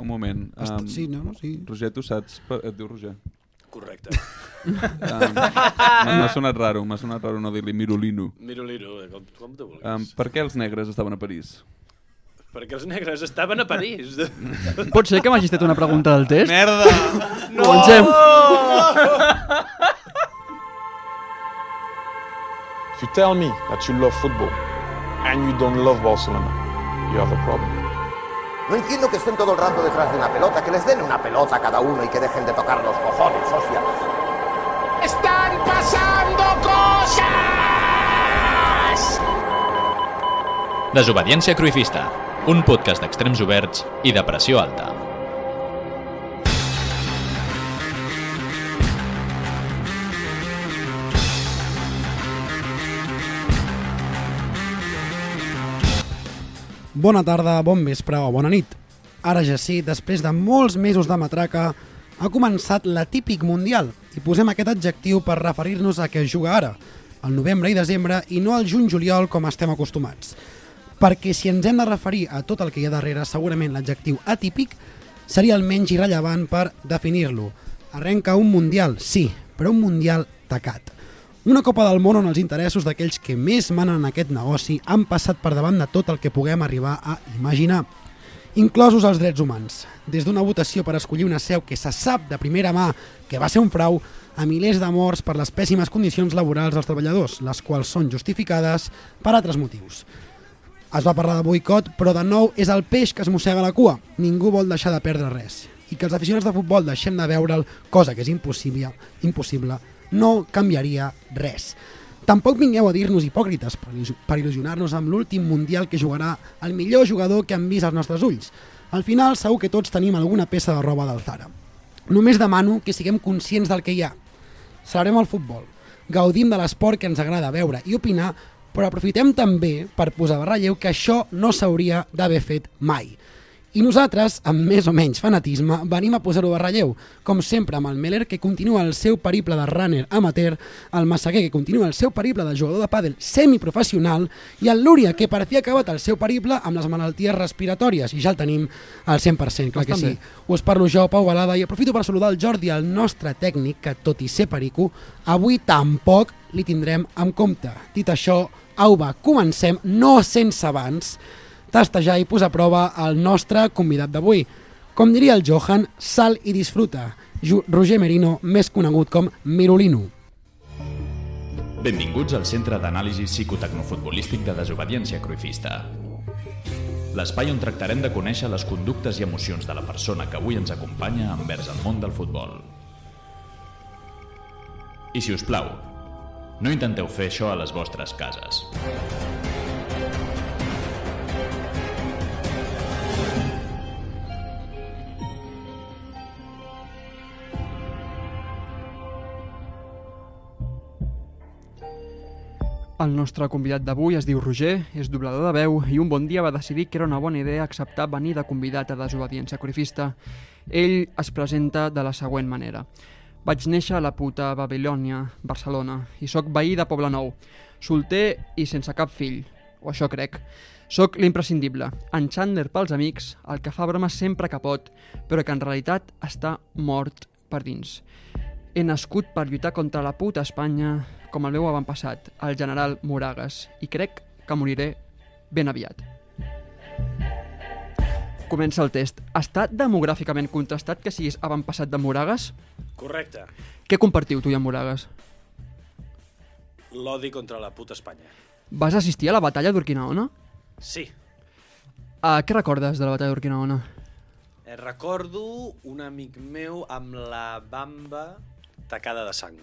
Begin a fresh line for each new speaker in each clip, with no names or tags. un moment.
Està- sí, no? Sí.
Roger, tu saps... per- Et diu Roger.
Correcte.
Um, m'ha sonat raro, m'ha sonat raro no dir-li Mirolino.
Mirolino, eh, com, com tu vulguis.
Um, per què els negres estaven a París?
Perquè els negres estaven a París.
Pot ser que m'hagis fet una pregunta del test?
Merda!
No! Comencem.
If you tell me that you love football and you don't love Barcelona, you have a problem.
No entiendo que estén todo el rato detrás de una pelota, que les den una pelota a cada uno y que dejen de tocar los cojones, hostia. ¡Están pasando cosas!
Desobediència Cruifista, un podcast d'extrems oberts i de pressió alta.
Bona tarda, bon vespre o bona nit. Ara ja sí, després de molts mesos de matraca, ha començat l'atípic mundial i posem aquest adjectiu per referir-nos a què es juga ara, al novembre i desembre i no al juny-juliol com estem acostumats. Perquè si ens hem de referir a tot el que hi ha darrere, segurament l'adjectiu atípic seria el menys irrellevant per definir-lo. Arrenca un mundial, sí, però un mundial tacat. Una Copa del Món on els interessos d'aquells que més manen aquest negoci han passat per davant de tot el que puguem arribar a imaginar, inclosos els drets humans. Des d'una votació per escollir una seu que se sap de primera mà que va ser un frau, a milers de morts per les pèssimes condicions laborals dels treballadors, les quals són justificades per altres motius. Es va parlar de boicot, però de nou és el peix que es mossega la cua. Ningú vol deixar de perdre res. I que els aficionats de futbol deixem de veure'l, cosa que és impossible, impossible no canviaria res. Tampoc vingueu a dir-nos hipòcrites per il·lus- per il·lusionar-nos amb l'últim mundial que jugarà el millor jugador que han vist als nostres ulls. Al final segur que tots tenim alguna peça de roba d'alzara. Només demano que siguem conscients del que hi ha, celebrem el futbol, gaudim de l'esport que ens agrada veure i opinar, però aprofitem també per posar en relleu que això no s'hauria d'haver fet mai. I nosaltres, amb més o menys fanatisme, venim a posar-ho a relleu, com sempre amb el Meller que continua el seu periple de runner amateur, el Massaguer que continua el seu periple de jugador de pàdel semiprofessional i el Lúria que parecia acabat el seu periple amb les malalties respiratòries i ja el tenim al 100%, clar que
Bastant
sí.
bé.
Us parlo jo, Pau Balada, i aprofito per saludar el Jordi, el nostre tècnic, que tot i ser perico, avui tampoc li tindrem en compte. Dit això, au va, comencem, no sense abans, tastejar i posar a prova el nostre convidat d'avui. Com diria el Johan, sal i disfruta. Ju- Roger Merino, més conegut com Mirolino.
Benvinguts al Centre d'Anàlisi Psicotecnofutbolístic de Desobediència Cruifista. L'espai on tractarem de conèixer les conductes i emocions de la persona que avui ens acompanya envers el món del futbol. I si us plau, no intenteu fer això a les vostres cases.
El nostre convidat d'avui es diu Roger, és doblador de veu i un bon dia va decidir que era una bona idea acceptar venir de convidat a desobediència corifista. Ell es presenta de la següent manera. Vaig néixer a la puta Babilònia, Barcelona, i sóc veí de Poble Nou, solter i sense cap fill, o això crec. Sóc l'imprescindible, en Chandler pels amics, el que fa broma sempre que pot, però que en realitat està mort per dins. He nascut per lluitar contra la puta Espanya com el meu avantpassat, el general Moragas, i crec que moriré ben aviat. Comença el test. Està demogràficament contestat que siguis avantpassat de Moragas?
Correcte.
Què compartiu tu i en Moragas?
L'odi contra la puta Espanya.
Vas assistir a la batalla d'Urquinaona?
Sí.
Uh, què recordes de la batalla d'Urquinaona?
Eh, recordo un amic meu amb la bamba tacada de sang,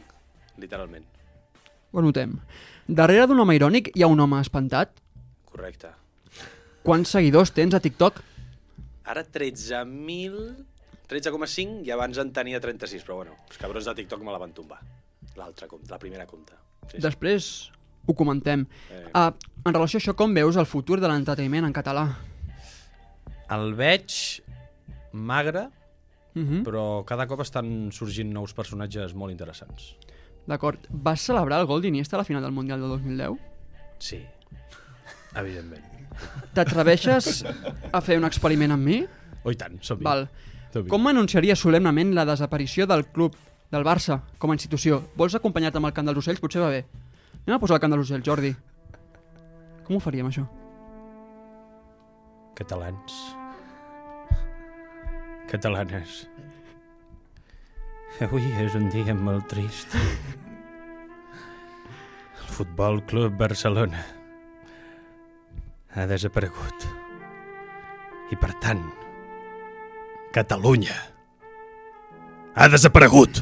literalment.
Ho notem. Darrere d'un home irònic hi ha un home espantat?
Correcte.
Quants seguidors tens a TikTok?
Ara 13.000... 13,5 i abans en tenia 36, però bueno, els cabrons de TikTok me la van tombar. L'altra compte, la primera compte. Sí, sí.
Després ho comentem. Uh, en relació a això, com veus el futur de l'entreteniment en català?
El veig magre,
Uh -huh.
però cada cop estan sorgint nous personatges molt interessants.
D'acord. Vas celebrar el gol d'Iniesta a la final del Mundial de 2010?
Sí, evidentment.
T'atreveixes a fer un experiment amb mi?
Oh, i tant, som
Val. Com anunciaria solemnement la desaparició del club del Barça com a institució? Vols acompanyar-te amb el Camp dels Ocells? Potser va bé. Anem a posar el Camp dels Ocells, Jordi. Com ho faríem, això?
Catalans. Catalanes. Avui és un dia molt trist. El Futbol Club Barcelona ha desaparegut. I per tant, Catalunya ha desaparegut.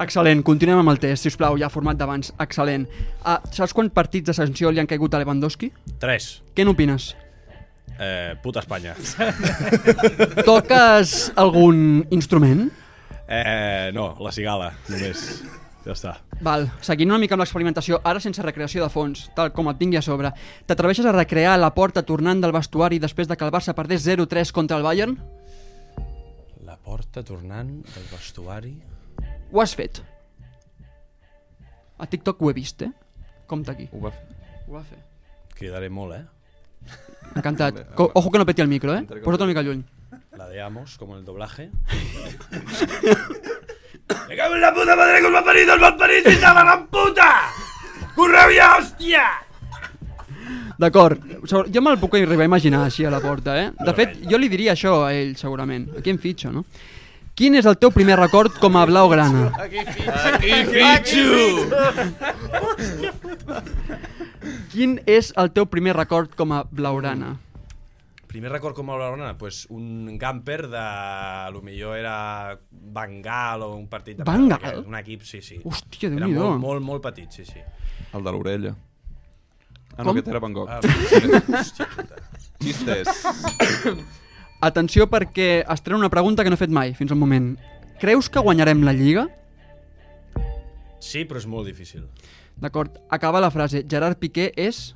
Excel·lent, continuem amb el test, sisplau, ja format d'abans. Excel·lent. Ah, saps quants partits de sanció li han caigut a Lewandowski?
Tres.
Què n'opines?
Eh, puta Espanya.
Toques algun instrument?
Eh, no, la cigala, només. Ja està.
Val, seguint una mica amb l'experimentació, ara sense recreació de fons, tal com et tingui a sobre, t'atreveixes a recrear la porta tornant del vestuari després de que el Barça perdés 0-3 contra el Bayern?
La porta tornant del vestuari...
Ho has fet. A TikTok ho he vist, eh? Compte aquí.
Ho va fer.
Ho va fer.
Cridaré molt, eh?
Encantat. Co- Ojo que no peti el micro, eh?
Entre
Posa't una mica lluny.
La de Amos, com el doblaje. ¡Me cago en la puta madre que os va parido el malparit fins a la gran puta! Correu ja, hòstia!
D'acord, Segura- jo me'l puc arribar a imaginar així a la porta, eh? De fet, jo li diria això a ell, segurament. Aquí en fitxo, no? Quin és el teu primer record com a blaugrana?
Fitxo!
Quin és el teu primer record com a blaugrana?
Primer record com a Barcelona, pues un gamper de... A lo millor era Bengal o un partit de...
Bengal?
Un equip, sí, sí.
Hòstia,
Era
Déu-n'hi-do.
molt, molt, molt petit, sí, sí.
El de l'orella. Ah, no,
Com?
aquest era Van Gogh.
Ah,
Hòstia puta. Xistes.
Atenció perquè es treu una pregunta que no he fet mai fins al moment. Creus que guanyarem la Lliga?
Sí, però és molt difícil.
D'acord, acaba la frase. Gerard Piqué és...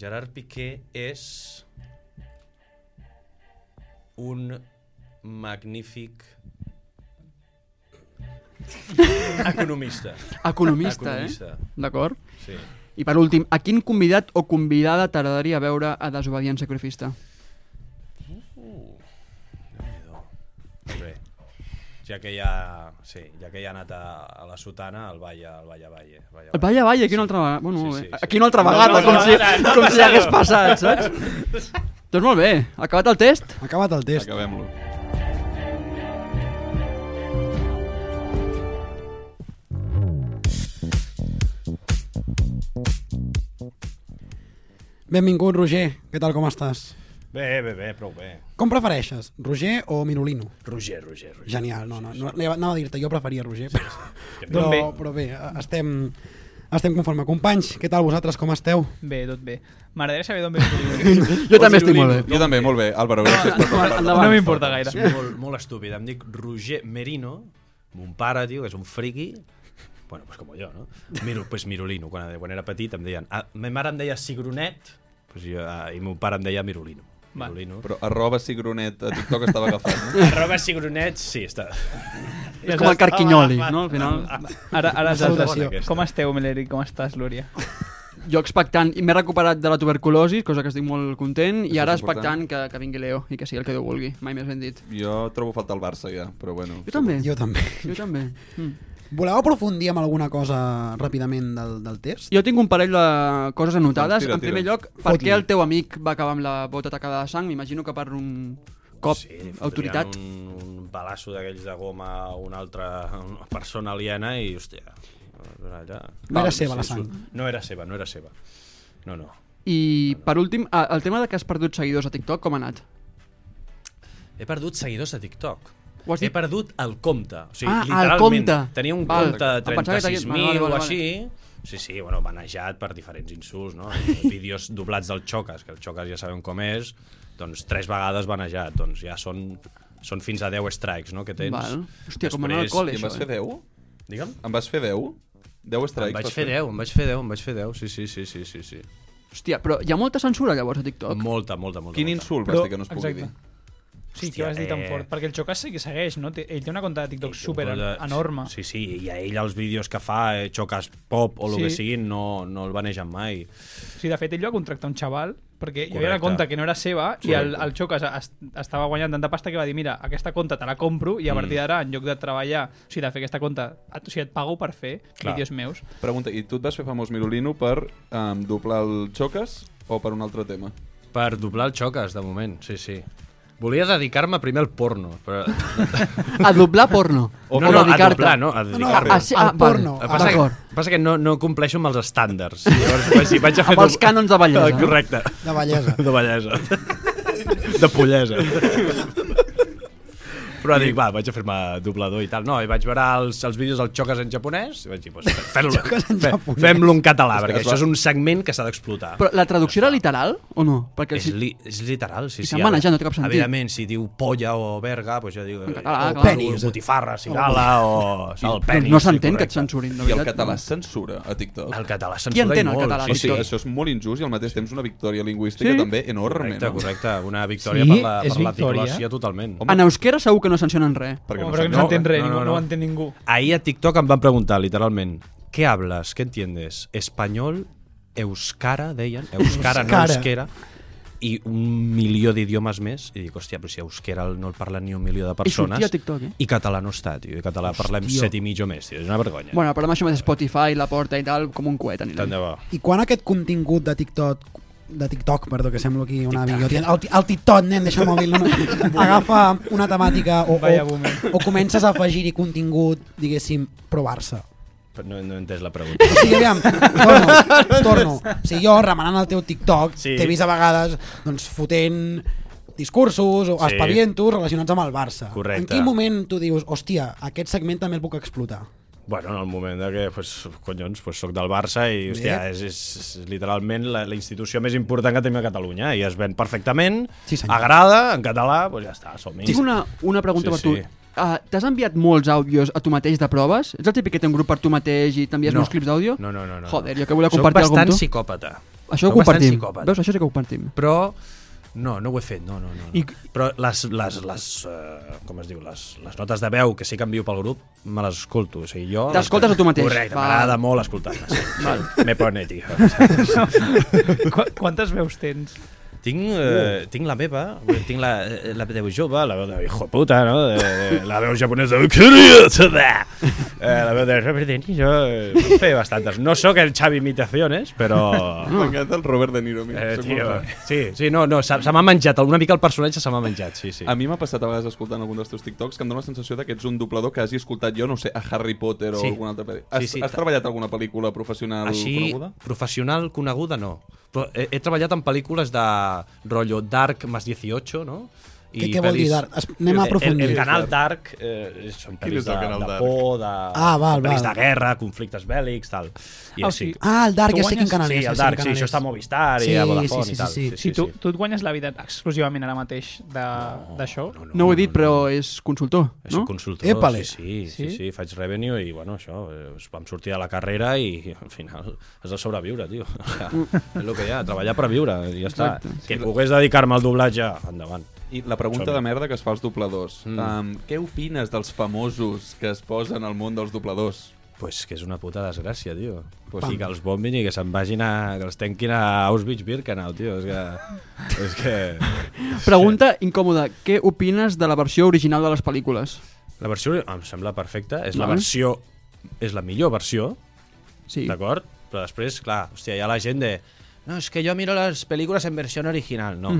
Gerard Piqué és un magnífic economista. eh?
Economista,
Economista.
eh? D'acord.
Sí.
I per últim, a quin convidat o convidada t'agradaria veure a Desobedient Sacrifista?
Doncs Bé. Ja que ja, sí, ja que ja ha anat a, a la sotana, al Valle, al Valle Valle. Valle,
El Valla Valla, aquí una altra vegada. Bueno,
Sí, sí,
sí, sí,
sí.
Aquí una altra vegada, com, si, com si hagués passat, saps? doncs molt bé, acabat el test.
Acabat el test.
Acabem-lo.
Benvingut, Roger. Què tal, com estàs?
Bé, bé, bé, prou bé.
Com prefereixes, Roger o Mirolino?
Roger, Roger, Roger.
Genial, no, no, no anava a dir-te, jo preferia Roger, però,
Doncs bé.
però, però bé, estem, estem conforme. Companys, què tal vosaltres, com esteu?
Bé, tot bé. M'agradaria saber d'on ve el
Jo també estic molt bé.
Jo també, molt bé. Álvaro, gràcies per preparar-te.
No m'importa gaire.
És molt, molt estúpid. Em dic Roger Merino, mon pare, tio, que és un friqui, bueno, pues com jo, no? Miro, pues Mirolino. Quan, quan era petit em deien... Ah, ma mare em deia Cigronet, pues jo, ah, i mon pare em deia Mirolino.
Va.
Mirolino. Però...
Però arroba cigronet a TikTok estava agafat. no?
Arroba Cigronet, sí, està.
És com el Carquinyoli, no? Al final,
Ara, ara
Una
saltes.
salutació.
Com esteu, Meleri? Com estàs, Lúria?
jo expectant, i m'he recuperat de la tuberculosi, cosa que estic molt content, i
Això
ara
és important.
expectant que, que vingui Leo i que sigui el que Déu vulgui, mai més ben dit.
Jo trobo falta el Barça ja, però bueno.
Jo també.
Jo també.
Jo també. Mm.
Voleu aprofundir en alguna cosa ràpidament del, del test?
Jo tinc un parell de coses anotades.
Doncs tira,
en primer
tira.
lloc, per
Fot-li.
què el teu amic va acabar amb la bota tacada de sang? M'imagino que per un cop sí,
fotrien
autoritat. Un...
Un, un balasso d'aquells de goma a una altra a una persona aliena i, hòstia... Allà. Ah,
No era seva, la sang.
surt. No era seva, no era seva. No, no.
I per últim, ah, el tema de que has perdut seguidors a TikTok, com ha anat?
He perdut seguidors a TikTok.
Ho has
He
dit?
perdut el compte. O sigui,
Ah, el
literalment,
compte.
Tenia un
Val.
compte de
Em pensava que t'hagués-
36.000
Vale, vale,
o
vale.
així. Sí, sí, bueno, manejat per diferents insults, no? Eh, Vídeos doblats del Xoques, que el Xoques ja sabem com és, doncs tres vegades manejat, doncs ja són, són fins a 10 strikes, no?, que tens.
Val. Hòstia, com anar al col·le.
I em vas
Això,
fer 10?
Digue'm.
Em vas fer 10? 10 strikes?
Em vaig
vas
fer 10, em vaig fer 10, em vaig fer 10, sí, sí, sí, sí, sí. sí.
Hòstia, però hi ha molta censura llavors a TikTok.
Molta, molta, molta.
Quin
molta.
insult
Però-
vas dir que no es pugui
exacte.
dir?
Sí,
Hòstia,
que ho has dit tan
eh.
fort. Perquè el Xocas sí que segueix, no? Té- Ell té una conta de
Doncs
TikTok super
Tota-
enorme.
Sí, sí, i a ell els vídeos que fa, eh, xocas pop o el
Sí.
que siguin, no, no el banegen mai.
O sigui, de fet, ell va contractar un xaval perquè hi havia una
Correcte.
conta que no era seva i el,
Correcte.
el Xocas es, estava guanyant tanta pasta que va dir mira, aquesta conta te la compro
Mm.
i a partir d'ara, en lloc de treballar, o sigui, de fer aquesta conta, et- o sigui, et pago per fer
Clar.
vídeos meus.
Pregunta, i tu et vas fer famós Mirolino per um, doblar el Xoques o per un altre tema?
Per doblar el xoques, de moment, sí, sí. Volia dedicar-me primer al porno, però...
A doblar porno.
O no, no, a
dedicar-te.
doblar, no, a
No, no,
dedicar-me.
Ah, sí,
al
ah, val.
porno.
El que passa,
D'acord.
que, passa que no, no compleixo amb els estàndards. Llavors, vaig, dir, vaig a fer
Amb els cànons de bellesa.
Ah, Correcte.
De bellesa.
De bellesa. De pollesa. Però dic, va, vaig a fer-me doblador i tal. No, i vaig veure els, els vídeos del Xoques en japonès i vaig dir, pues, fem-lo
en
fe-
japonès.
fem-lo en català,
que
perquè
es
això
va-
és un segment que s'ha d'explotar.
Però la traducció era literal o no? Perquè
És,
si...
li, és literal, sí,
I
sí.
se'n van
ara.
allà, no té cap sentit.
Evidentment, si diu polla o verga, doncs jo dic... En
català,
o
clar.
Penis.
botifarra, cigala, o... El penis,
Doncs no s'entén
sí,
que et
correcte.
censurin, de
I el
veritat.
català es censura a TikTok?
El català
Qui
censura i
entén el
molt.
català,
O sigui,
TikTok?
això és molt injust i al mateix temps una victòria lingüística
Sí.
també enorme,
Correcte,
no?
correcte. Una victòria
Sí,
per la,
és
per la
victòria.
diglossia totalment.
Home,
En euskera segur que no sancionen res.
Perquè
Home,
no
però que
sap-
no s'entén res,
no,
ningú,
no,
no,
no.
ho entén ningú.
Ahir a TikTok em van preguntar, literalment, què hables, què entiendes? Espanyol, euskara, deien, euskara, no
Euskara.
euskera, i un milió d'idiomes més, i dic, hòstia, però si euskera no el parla ni un milió de persones,
sortia a TikTok, eh?
i català no està, tio, i català parlem set i mig o més, tio, és una vergonya.
Bueno, però amb això més Spotify, la porta i tal, com un coet.
Tant
anirem.
de bo.
I quan aquest contingut de TikTok de TikTok, perdó, que semblo aquí una biblioteca. El, ti- el TikTok, nen, deixa el mòbil. No? Agafa una temàtica o,
Vaya
o,
boomer.
o comences a afegir-hi contingut, diguéssim, provar-se.
Però No, no he entès la pregunta.
O sigui, aviam, torno, torno. O sigui, jo, remenant el teu TikTok, sí.
Sí.
t'he vist a vegades doncs, fotent discursos o
Sí.
espavientos relacionats amb el Barça.
Correcte.
En quin moment tu dius, hòstia, aquest segment també el puc explotar?
Bueno, en el moment de que, pues, collons, pues, soc del Barça i, hòstia, és, és, és literalment la, la institució més important que tenim a Catalunya i es ven perfectament,
Sí, senyor.
agrada, en català, pues ja està, som
Tinc una, una pregunta
Sí,
per tu.
sí.
Uh, T'has enviat molts àudios a tu mateix de proves? Ets el típic que té un grup per tu mateix i t'envies
No.
molts clips d'àudio?
No, no, no, no.
Joder, jo que volia
Soc
compartir alguna
bastant
amb tu.
psicòpata.
Això ho
Soc bastant
compartim.
psicòpata.
Veus, això sí que ho compartim.
Però no, no ho he fet, no, no, no. no.
I-
Però les, les, les, eh, com es diu, les, les notes de veu que sí que envio pel grup, me les escolto. O sigui, jo...
T'escoltes a tu mateix.
Correcte,
Va.
m'agrada molt escoltar-les. Val. Me pone, tio.
Qu quantes veus tens?
Tinc, eh,
Uh.
tinc la meva, tinc la, eh, la veu jove, la veu de hijo puta, no? De, de, la veu japonesa de "Kuriotada". eh, la veu de Robert De Niro, eh, puc fer bastantes. No sóc el Xavi Imitaciones, però...
Ah,
M'encanta el Robert De Niro. a mi,
Eh,
sóc molt
tio,
fan.
sí, sí, no, no, se, se m'ha menjat, una mica el personatge se m'ha menjat, sí, sí.
A mi m'ha passat a vegades escoltant algun dels teus TikToks que em dóna la sensació de que ets un doblador que hagi escoltat, jo no ho sé, a Harry Potter o
Sí.
alguna altra pel·li. Has,
Sí, sí.
has treballat alguna pel·lícula professional
Així,
coneguda?
professional coneguda, no. Però he, he treballat en pel·lícules de rotllo Dark más 18, no?
Què- què vol dir
pel·lis-
Dark? Es- anem a aprofundir.
El, el canal Dark eh, són
Quin
pel·lis
és el
de,
canal
de
Dark?
por, de,
Ah, val, val.
pel·lis de guerra, conflictes bèl·lics, tal. I
Ah, o
així.
sigui,
Ah, el Dark, ja
Tu
sé quin
guanyes-
canal
sí,
és. ja
el
sé quin
Dark, sí,
canal
això
és.
està a Movistar
Sí,
i a Vodafone
sí, sí,
i tal.
sí, sí.
Si tu, tu et guanyes la vida exclusivament ara mateix de- d'això, no,
No ho he dit, però és consultor,
És
no?
un consultor,
Épale.
sí, sí, sí,
Sí?
sí, faig revenue i, bueno, això, eh, vam sortir de la carrera i, al final, has de sobreviure, tio. O sigui, és el que hi ha, treballar per viure, i ja està.
Exacte.
Que pogués dedicar-me al doblatge, endavant.
I la pregunta
Som-hi.
de merda que es fa als dobladors. Mm. Um, què opines dels famosos que es posen al món dels dobladors?
Pues que és una puta desgràcia, tio. Pues
Pam.
sí, que els bombin i que se'n vagin a... que els tanquin a Auschwitz-Birkenau, tio. És que... és que...
Pregunta incòmoda. Què opines de la versió original de les pel·lícules?
La versió em sembla perfecta. És la
Val.
versió... És la millor versió,
Sí.
d'acord? Però després, clar, hòstia, hi ha la gent de... No, és que jo miro les pel·lícules en versió original. No,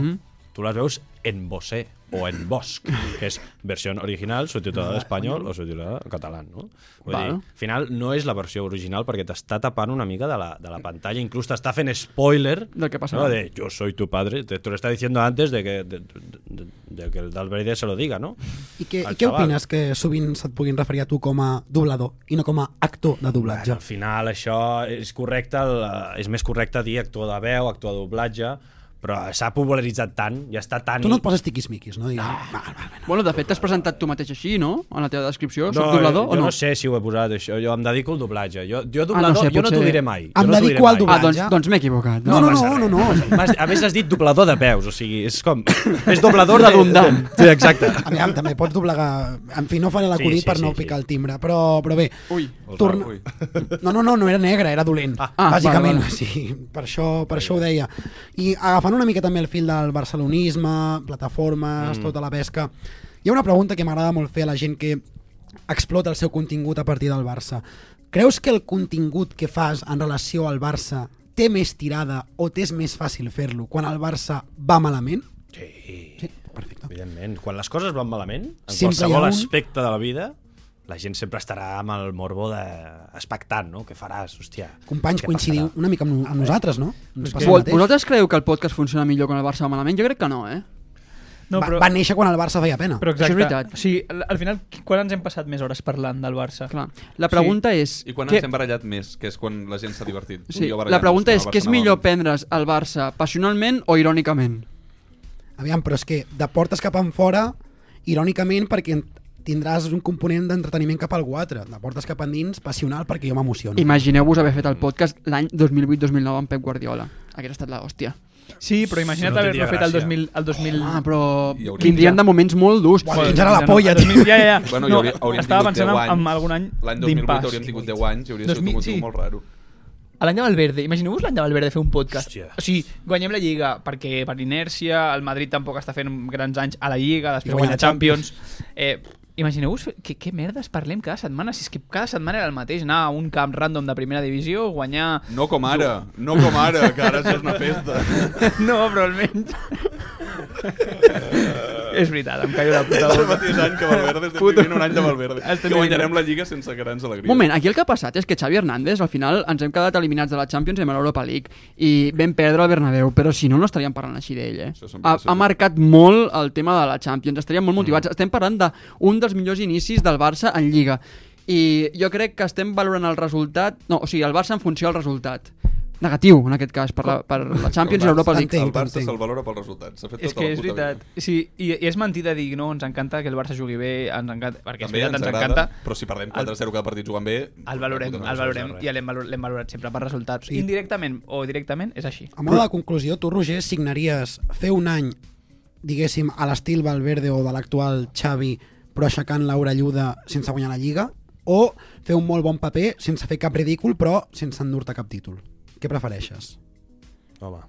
tu les veus en bosé o en bosc, que és versió original, subtitulada d'espanyol o subtitulada en català, no? Vull dir,
Val.
al final no és la versió original perquè t'està tapant una mica de la, de la pantalla, inclús t'està fent spoiler
Del que passarà.
no? de yo soy tu padre, te, te lo está diciendo antes de que, de, de- de que el Darth Vader se lo diga, ¿no?
I què,
El
i què
xaval.
opines que sovint se't puguin referir a tu com a doblador i no com a actor de doblatge?
Al final això és correcte, el, és més correcte dir actor de veu, actor de doblatge, Però s'ha popularitzat tant i està tan...
Tu no et poses tiquismiquis, no? Digues,
Ah.
va, va, va.
Bueno, de fet, t'has presentat tu mateix així, no? En la teva descripció. Soc
No, eh,
doblador
jo
o
no
no?
sé si ho he posat, això. Jo em dedico al doblatge. Jo,
Ah,
jo doblador,
sé,
jo no t'ho
potser-
diré mai.
Em
jo no t'ho
dedico
diré
al
mai.
doblatge.
Ah, doncs, doncs m'he equivocat.
No, no,
passa
no, no, no.
M'has- A més, a més has dit doblador de peus, o sigui, és com... És doblador de...
Redundant.
Sí, exacte.
Aviam, també pots doblegar... En fi, no faré l'acudit
Sí, sí,
per
sí,
no
sí.
picar el timbre, però, però bé.
Ui.
Torna... No, no, no, no era negre, era dolent, ah,
ah,
bàsicament.
vale, vale.
Sí, per això, per això ho deia. I agafant una mica també el fil del barcelonisme, plataformes, mm. tota la pesca, hi ha una pregunta que m'agrada molt fer a la gent que explota el seu contingut a partir del Barça. Creus que el contingut que fas en relació al Barça té més tirada o t'és més fàcil fer-lo quan el Barça va malament?
Sí,
Perfecte.
evidentment. Quan les coses van malament, en
Sempre hi ha
qualsevol
un-
aspecte de la vida, la gent sempre estarà amb el morbo de... expectant, no? Què faràs, hòstia?
Companys,
Què
coincidiu
passarà?
una mica amb, amb nosaltres, no? Ens passa el
Vol-
mateix.
Vosaltres creieu que el podcast funciona millor quan el Barça va malament? Jo crec que no, eh?
No,
va, va néixer quan el Barça feia pena.
però
Això és
exacte.
veritat.
O sigui, al- al final, qui- quan ens hem passat més hores parlant del Barça?
Clar. La pregunta és...
I quan
què-
ens hem barallat més, que és quan la gent s'ha divertit. Tu
Sí,
i jo
la
barallant-nos
pregunta
quan
és,
el
què és
Barça anava
millor
malament.
prendre's el Barça passionalment o irònicament?
Aviam, però és que de portes cap en fora, irònicament, perquè en- tindràs un component d'entreteniment cap al altre. De portes cap endins, passional, perquè jo m'emociono.
Imagineu-vos haver fet
Mm.
el podcast l'any 2008-2009 amb Pep Guardiola. Hauria estat la hòstia.
Sí, però imagina't
No
haver-lo
tindria
fet el
gràcia.
2000... El 2000...
Ah, però
Hi hauria-
tindrien de moments molt durs.
Uau, fins ara la
no,
polla,
el
tio.
2000, ja, ja, ja.
Bueno,
no,
no, hauria, hauríem
estava
tingut 10
pensant
anys.
en, en algun any
L'any 2008
d'impàs.
hauríem tingut 10 anys i hauria sigut
2000,
un motiu
sí.
molt raro.
A l'any de Valverde, imagineu-vos l'any de Valverde fer un podcast.
Hòstia.
O sigui, guanyem la Lliga perquè per inèrcia, el Madrid tampoc està fent grans anys a la Lliga, després
Guanya
guanya la Champions. Eh, Imagineu-vos que, que merdes parlem cada setmana, si és que cada setmana era el mateix, anar a un camp random de primera divisió, guanyar...
No com ara, no com ara, que ara això és una festa.
No, però almenys... és veritat, em callo la puta
El
boca.
mateix any que Valverde, estem
Puto.
vivint un any de Valverde.
Estem
Que guanyarem
vivint.
la Lliga sense grans alegries.
Moment, aquí el que ha passat és que Xavi Hernández al final ens hem quedat eliminats de la Champions i amb l'Europa League i vam perdre el Bernabéu, però si no, no estaríem parlant així d'ell, eh?
Això sempre
Ha,
ha sigut.
ha marcat molt el tema de la Champions, estaríem molt motivats. Mm. Estem parlant d'un dels millors inicis del Barça en Lliga i jo crec que estem valorant el resultat... No, o sigui, el Barça en funció del resultat. Negatiu, en aquest cas, per la, per la Champions i
El
l'Europa
Barça-
League.
El
Entenc,
Barça
entenc.
se'l valora pel resultat. S'ha fet
És
tota
que
la
és
puta
veritat.
vida.
Sí, i, i és mentida dir, no, ens encanta que el Barça jugui bé, ens encanta, perquè
També
és veritat,
ens
ens,
agrada,
encanta,
però si perdem 4-0 cada partit jugant bé...
El valorem,
puta mare,
el
això no
valorem
serveix.
i l'hem valor, l'hem valorat sempre per resultats.
Sí.
Sí. Indirectament o directament és així.
A mode de conclusió, tu, Roger, signaries fer un any, diguéssim, a l'estil Valverde o de l'actual Xavi, però aixecant l'Aura Lluda sense guanyar la Lliga? O fer un molt bon paper sense fer cap ridícul, però sense endur-te cap títol? Què prefereixes?
Home,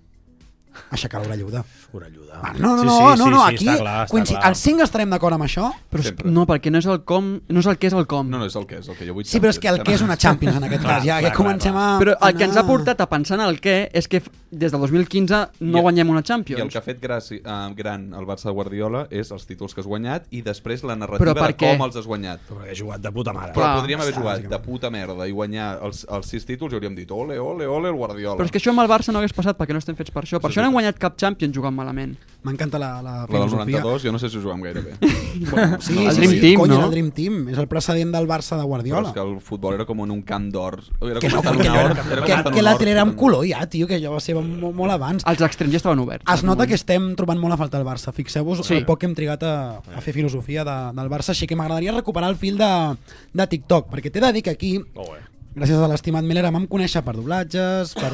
Aixecar l'Aura Lluda.
orelluda.
Ah, no, no,
Sí,
no,
sí,
no,
sí,
no,
sí,
aquí
està clar, està
coinci-
clar.
els cinc estarem d'acord amb això,
Però és,
Sempre.
no, perquè no és el com, no és el que és el com.
No, no, és el que és, el que jo vull
Sí, però és que el que és una Champions en aquest cas, ja, ja
clar,
comencem a...
Però el que ens ha
anar-
portat a pensar en el què és que f- des del 2015 no
I-
guanyem una
I
Champions.
el que ha fet graci, eh, gran el Barça de Guardiola és els títols que has guanyat i després la
Però
narrativa
per
de
què?
com els has guanyat.
Però he jugat de puta mare.
Però
Clar,
podríem haver
està,
jugat de
bàsicament.
puta merda i guanyar els, els sis títols i hauríem dit ole, ole, ole, el Guardiola.
Però és que això amb el Barça no hagués passat perquè no estem fets per això. Per això no hem guanyat cap Champions jugant malament.
M'encanta la, la
La del
filosofia.
92 jo no sé si ho jugàvem gaire bé.
Bueno, sí,
El
sí,
Dream
sí,
Team,
cony,
no?
era el Dream Team. És el precedent del Barça
Però
de
és
Guardiola.
que el futbol era com en un camp d'or. Era
Que
com
no,
estar en una
que, jo
hort.
era,
era com
que,
estar en
que
una
la
hort.
tele era amb color ja, tio, que allò va ser molt, molt abans.
Els extrems ja estaven oberts.
Es nota que estem trobant molt a faltar el Barça. Fixeu-vos
Ah, Sí.
sí. el poc que hem trigat a, a fer filosofia de, del Barça, així que m'agradaria recuperar el fil de, de TikTok, perquè t'he de dir que aquí,
Molt bé.
gràcies a l'estimat Miller, em vam conèixer per doblatges, per,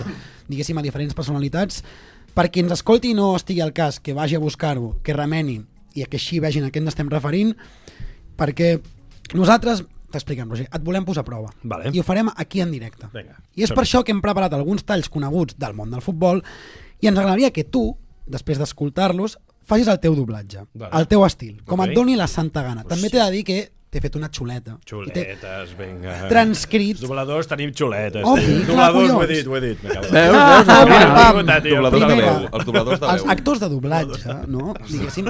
diguéssim, a diferents personalitats. Per qui ens escolti i no estigui al cas, que vagi a buscar-ho, que remeni, i que així vegin a què ens estem referint, perquè nosaltres, t'expliquem, Roger, et volem posar a prova.
Vale.
I ho farem aquí en directe.
Vinga.
I és per això que hem preparat alguns talls coneguts del món del futbol i ens agradaria que tu, després d'escoltar-los, facis el teu doblatge,
Vale.
el teu estil, com
Ok.
et doni la santa gana. També t'he de dir que t'he fet una xuleta. I
Xuletes, vinga.
t'he transcrit...
Els dobladors tenim xuletes.
Obvi,
tio.
Oh, clar,
dobladors, ho he
collons.
dit, ho he dit. Veus,
Veus, veus,
Ah,
Albina?
pam, pam.
Escolta, tio,
Dobladors de
Primera.
veu. Els dobladors de
Els
veu.
actors de doblatge, no? Diguéssim.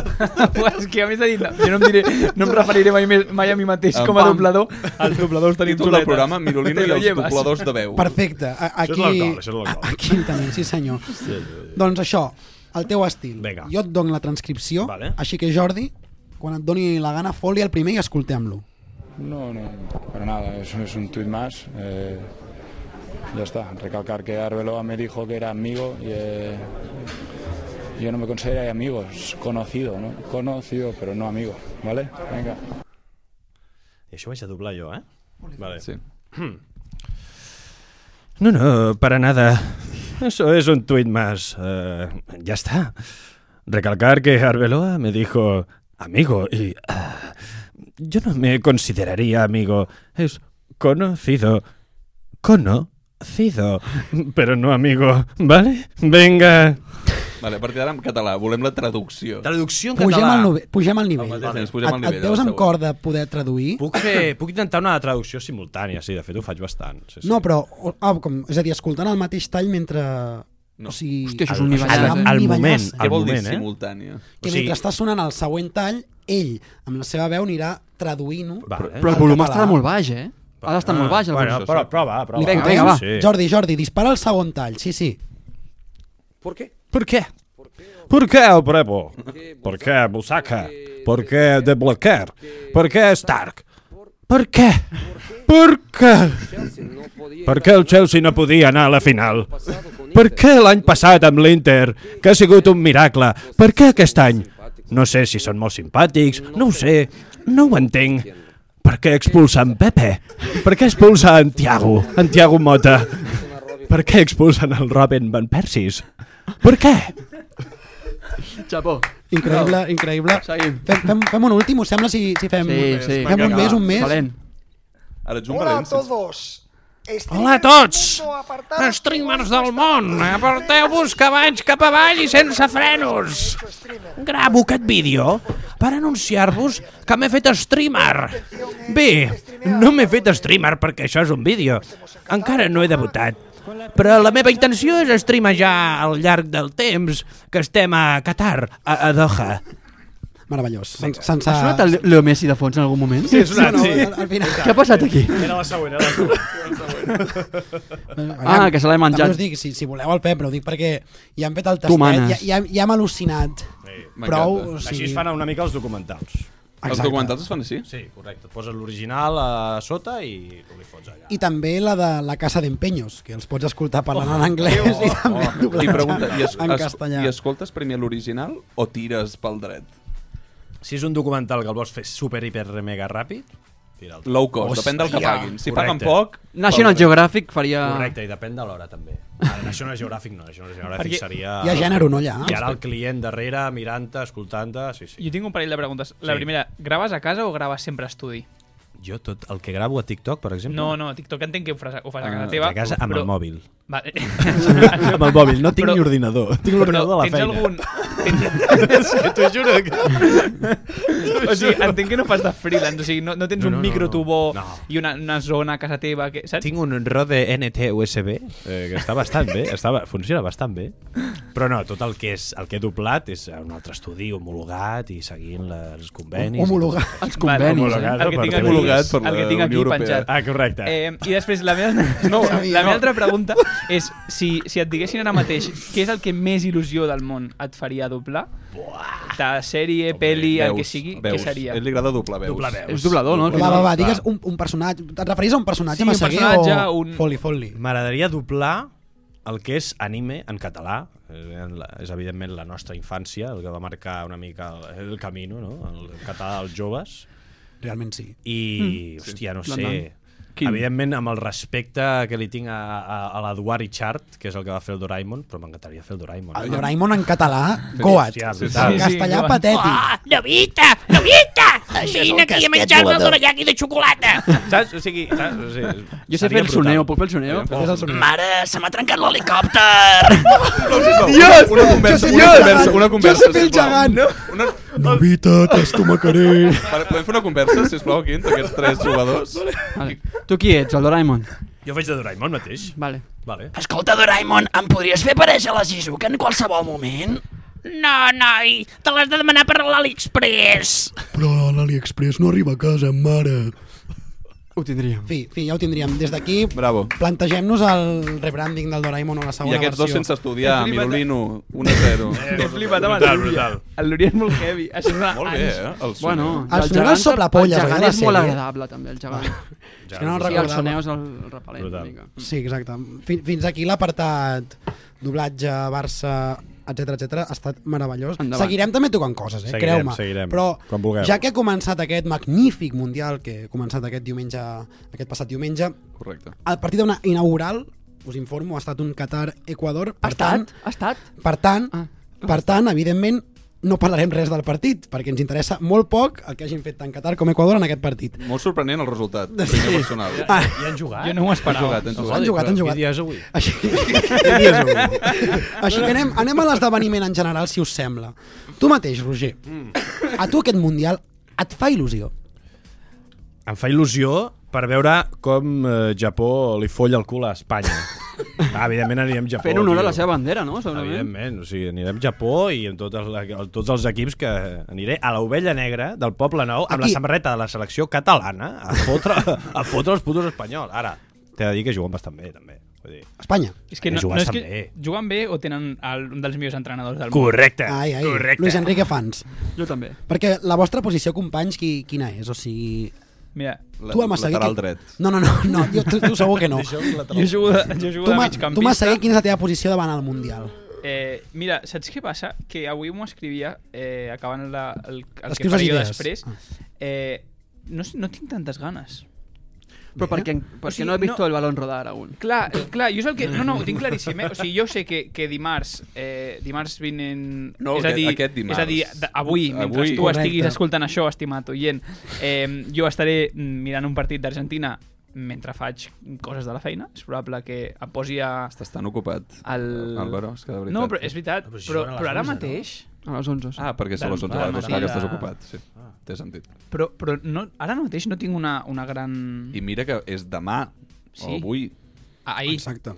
Pues és que a més ha dit, no, jo no em, diré, no em referiré mai, més, mai a mi mateix
Em
com a
pam.
doblador. Els dobladors tenim
Títol del programa Mirolino
Te
i
lo
els
llevas.
dobladors de veu.
Perfecte. A-
Això és
Aquí,
l'alcohol, això és l'alcohol.
a- aquí en tenim, sí senyor. Doncs això, el teu estil.
Vinga.
Jo et dono la transcripció,
Vale.
així que Jordi, quan et doni la gana, foli el primer i escoltem-lo.
No, no, para nada, eso es un tuit más. eh, ya está, recalcar que Arbeloa me dijo que era amigo y, eh, Yo no me considero amigos, conocido, ¿no? Conocido, pero no amigo, ¿vale? Venga.
I això ho vaig a doblar jo, eh? Vale.
Sí.
No, no, para nada. Eso es un tuit más. Eh, ya está. Recalcar que Arbeloa me dijo amigo y... ah, yo no me consideraría amigo. Es conocido. Conocido. Pero no amigo, ¿vale? Venga.
Vale, a partir d'ara en català. Volem la traducció.
Traducció en
Pues
Pugem
català.
al, nove- pugem al
Al
nivell.
mateix temps,
Et,
pugem al
et
nivell. de la
veus amb
següent.
cor de poder traduir?
Puc, fer, puc intentar una traducció simultània, sí, de fet ho faig bastant. Sí, sí.
No, però, o- ah, com, és a dir, escoltant el mateix tall mentre...
No.
O sigui,
Hòstia, això és
Al-
un nivell...
al,
eh?
al moment,
Nivellàs.
Què
al
vol dir
moment, eh?
simultània?
que
o sigui-
mentre està sonant el següent tall, ell, amb la seva veu, anirà traduint-ho.
Vale.
Però
Al
el volum
català.
està molt baix, eh? Ha d'estar molt baix, el
Ah, bueno,
volum.
però prova, prova.
Vinga, vinga, va.
Sí.
Jordi, Jordi, dispara el segon tall, sí, sí.
¿Por qué? ¿Por qué el Bravo? ¿Por qué é Busaka? ¿Por qué De Blacker? ¿Por qué Stark? ¿Por qué? ¿Por qué? ¿Per què el Chelsea no podia anar a la final? Per què l'any passat amb l'Inter, que ha sigut un miracle? Per què aquest any? No sé si són molt simpàtics, no ho sé, no ho entenc. Per què expulsen Pepe? Per què expulsen Tiago, en Tiago Mota? Per què expulsen el Robin Van Persis? Per què?
Xapó.
Increïble, increïble.
Seguim.
Fem, fem, fem un últim, us sembla si, si fem,
Sí, sí.
fem un
Vinga,
més,
va.
un més?
Valent.
Ara ets un valent.
todos.
Hola a tots! Streamers del món, aparteu-vos que vaig cap avall i sense frenos. Gravo aquest vídeo per anunciar-vos que m'he fet streamer. Bé, no m'he fet streamer perquè això és un vídeo. Encara no he debutat. Però la meva intenció és streamejar al llarg del temps que estem a Qatar, a, a Doha.
Meravellós. Sense, sense...
Ha sonat el Leo Messi de fons en algun moment? Sí,
No, no, al, al final...
Què ha passat aquí?
Era la següent, era la següent.
Aviam,
Ah, que se l'ha menjat.
També us dic, si, si voleu el Pep, però ho dic perquè ja hem fet el
Tu
tastet,
manes.
ja, ja, ja hem al·lucinat. Prou, o sigui...
una mica els documentals.
Els
Exacte.
documentals es fan així?
Sí, correcte. Et poses l'original a sota i tu li fots allà.
I també la de la Casa d'Empenyos, que els pots escoltar parlant
Oh.
en anglès i també oh,
I pregunta, i, es,
en
es,
castellà.
i escoltes primer l'original o tires pel dret?
Si és un documental que el vols fer super, hiper, mega ràpid, tira el
Low cost, depèn del que
Hòstia.
paguin. Si
Correcte.
paguen poc... eh.
National
pel dret.
Geographic faria...
Correcte, i depèn de l'hora també. Ara, National Geographic no, National Geographic
Perquè
seria...
hi ha gènere, no, allà?
Hi ha el client darrere, mirant-te, escoltant-te, sí, sí.
Jo tinc un parell de preguntes. La
Sí.
primera, graves a casa o graves sempre a estudi?
Jo tot el que gravo a TikTok, per exemple,
No, no, TikTok entenc que ho fas, ho fas a casa
Ah,
teva.
a casa amb el mòbil.
Vale.
amb el mòbil, no tinc
Però-
ni ordinador. Tinc
Però
l'ordinador de la
tens
feina.
algun...
És
Tens...
que t'ho juro que...
o sigui, entenc que no fas de freelance, o sigui, no, no tens
No,
un
no, no,
microtubó
no. No.
i una, una zona a casa teva, que, saps?
Tinc un Rode NT USB eh, que està bastant bé, està, funciona bastant bé. Però no, tot el que, és, el que he doblat és a un altre estudi homologat i seguint la- els convenis. i tot.
Homologat.
Els convenis,
Vale,
eh?
homologat.
el que
per
tinc aquí,
Homologat per la
el que tinc aquí
Unió Europea.
penjat.
Ah, correcte.
Eh, I després, la meva, no, la meva altra pregunta és si, si et diguessin ara mateix què és el que més il·lusió del món et faria doblar, de sèrie, pel·li, el que sigui,
veus.
què seria?
A ell li agrada doblar veus.
Doblar veus.
És doblador, no? al
Va,
final?
va, va, digues un, un personatge. Et referís a un personatge
Sí, un
Massaguer
personatge,
o...
un-
Folli, folli.
M'agradaria doblar el que és anime en català. Eh, en la- És evidentment la nostra infància, el que va marcar una mica el, el camí, no? El català dels joves.
Realment sí.
I, mm, hòstia, no
L'endant.
sé... Evidentment, amb el respecte que li tinc a, a, a l'Eduard Richard, que és el que va fer el Doraemon, però m'encantaria fer el Doraemon. eh?
El Doraemon en català, Goat.
Hòstia,
En
brutal.
sí,
castellà,
Ah!
Goat.
patètic.
Saps? O sigui, saps? O sigui,
Jo sé fer el soneo, puc fer el soneo?
És el sonido.
Dios! Una conversa, una conversa, una conversa,
Jo sé fer el
sisplau.
gegant.
Una...
Novita, t'estomacaré.
Vale, Podem fer una conversa, sisplau, aquí, entre aquests tres jugadors?
Vale. Tu qui ets, el Doraemon?
Jo faig de Doraemon mateix.
Vale.
Vale.
Escolta, Doraemon, em podries fer aparèixer la Shizuka en qualsevol moment? No, noi, te l'has de demanar per l'Aliexpress.
Però l'AliExpress no arriba a casa, mare.
Ho tindríem.
Fi, fi, ja ho tindríem. Des d'aquí,
Bravo.
plantegem-nos el rebranding del Doraemon o la
I
segona
aquests dos
versió.
sense estudiar, Mirolino, 1-0.
He flipat amb
Brutal,
el Núria.
brutal.
El Núria és molt heavy. Això és una...
Molt bé, eh? El soneo.
Bueno,
El soneo del soplapolles,
El gegant
eh,
és molt
la sèrie.
agradable, també, el gegant.
És que no el
Sí, el
recordava. Mm.
soneo és el repel·lent, una
Brutal.
mica.
Sí, exacte. Fin- Fins aquí l'apartat doblatge, Barça, etc etc ha estat meravellós.
Endavant.
Seguirem també tocant coses, eh?
Seguirem,
creu-me.
seguirem. Quan
Però
vulgueu.
ja que ha començat aquest magnífic Mundial, que ha començat aquest diumenge, aquest passat diumenge,
Correcte.
el partit d'una inaugural, us informo, ha estat un Qatar-Equador. Per tant,
Ha estat? Ah,
per tant, per tant, evidentment, no parlarem res del partit, perquè ens interessa molt poc el que hagin fet tant Qatar com Equador en aquest partit.
Molt sorprenent el resultat, opinió personal.
Ah.
I han jugat?
Jo no ho esperava. Han jugat, han jugat.
Han jugat, han jugat.
Què dies avui?
Així,
Què dies avui?
així que anem, anem a l'esdeveniment en general, si us sembla. Tu mateix, Roger,
Mm.
a tu aquest Mundial et fa il·lusió.
Em fa il·lusió per veure com eh, Japó li folla el cul a Espanya. Ah, evidentment anirem a Japó.
Fent honor a
tio.
la seva bandera, no? Segurament.
Evidentment, o sigui, anirem a Japó i amb totes la, tots els equips que aniré a l'Ovella Negra del Poble Nou amb
Aquí.
la samarreta de la selecció catalana a fotre, a fotre els putos espanyols. Ara, t'he de dir que juguen bastant bé, també. Vull dir,
Espanya.
És que no, no
juguen
és
bastant
que juguen bé o tenen el, un dels millors entrenadors del
Eh, Correcte.
món.
Ai, ai, Luis Enrique fans.
Jo també.
Perquè la vostra posició, companys, qui, quina és? O sigui...
Mira,
tu, Massaguer,
lateral
que-
dret.
No, no, no, no jo, tu, tu segur que no.
Jo jugo de, jo jugo
Tu,
de
ma, tu
migcampista.
Massaguer, quina és la teva posició davant el Mundial?
Eh, mira, saps què passa? Que avui m'ho escrivia, eh, acabant la, el, el que
Escrius les
faria
idees.
després. Eh, no, no tinc tantes ganes.
Però perquè, perquè
O sigui,
no he vist
no-
el balón rodar aún.
Clar,
Mm.
clar, jo és el que... No, no, ho tinc claríssim, eh? O sigui, jo sé que, que dimarts, eh, dimarts vinent...
No,
és a
aquest-
dir,
aquest dimarts.
És a dir, d- avui, mentre
Avui.
tu
Correcte.
estiguis escoltant això, estimat oient, eh, jo estaré mirant un partit d'Argentina mentre faig coses de la feina. És probable que em posi a...
Estàs tan ocupat,
el...
Álvaro, és que de veritat.
No, però és veritat, però, però ara mateix...
A les 11.
Ah, perquè se
Del-
les són
de Ah. la
totes, està que
matinada.
estàs ocupat, sí. Té sentit.
Però, però no, ara mateix no tinc una, una gran...
I mira que és demà,
Sí.
o avui.
Ahir.
Exacte.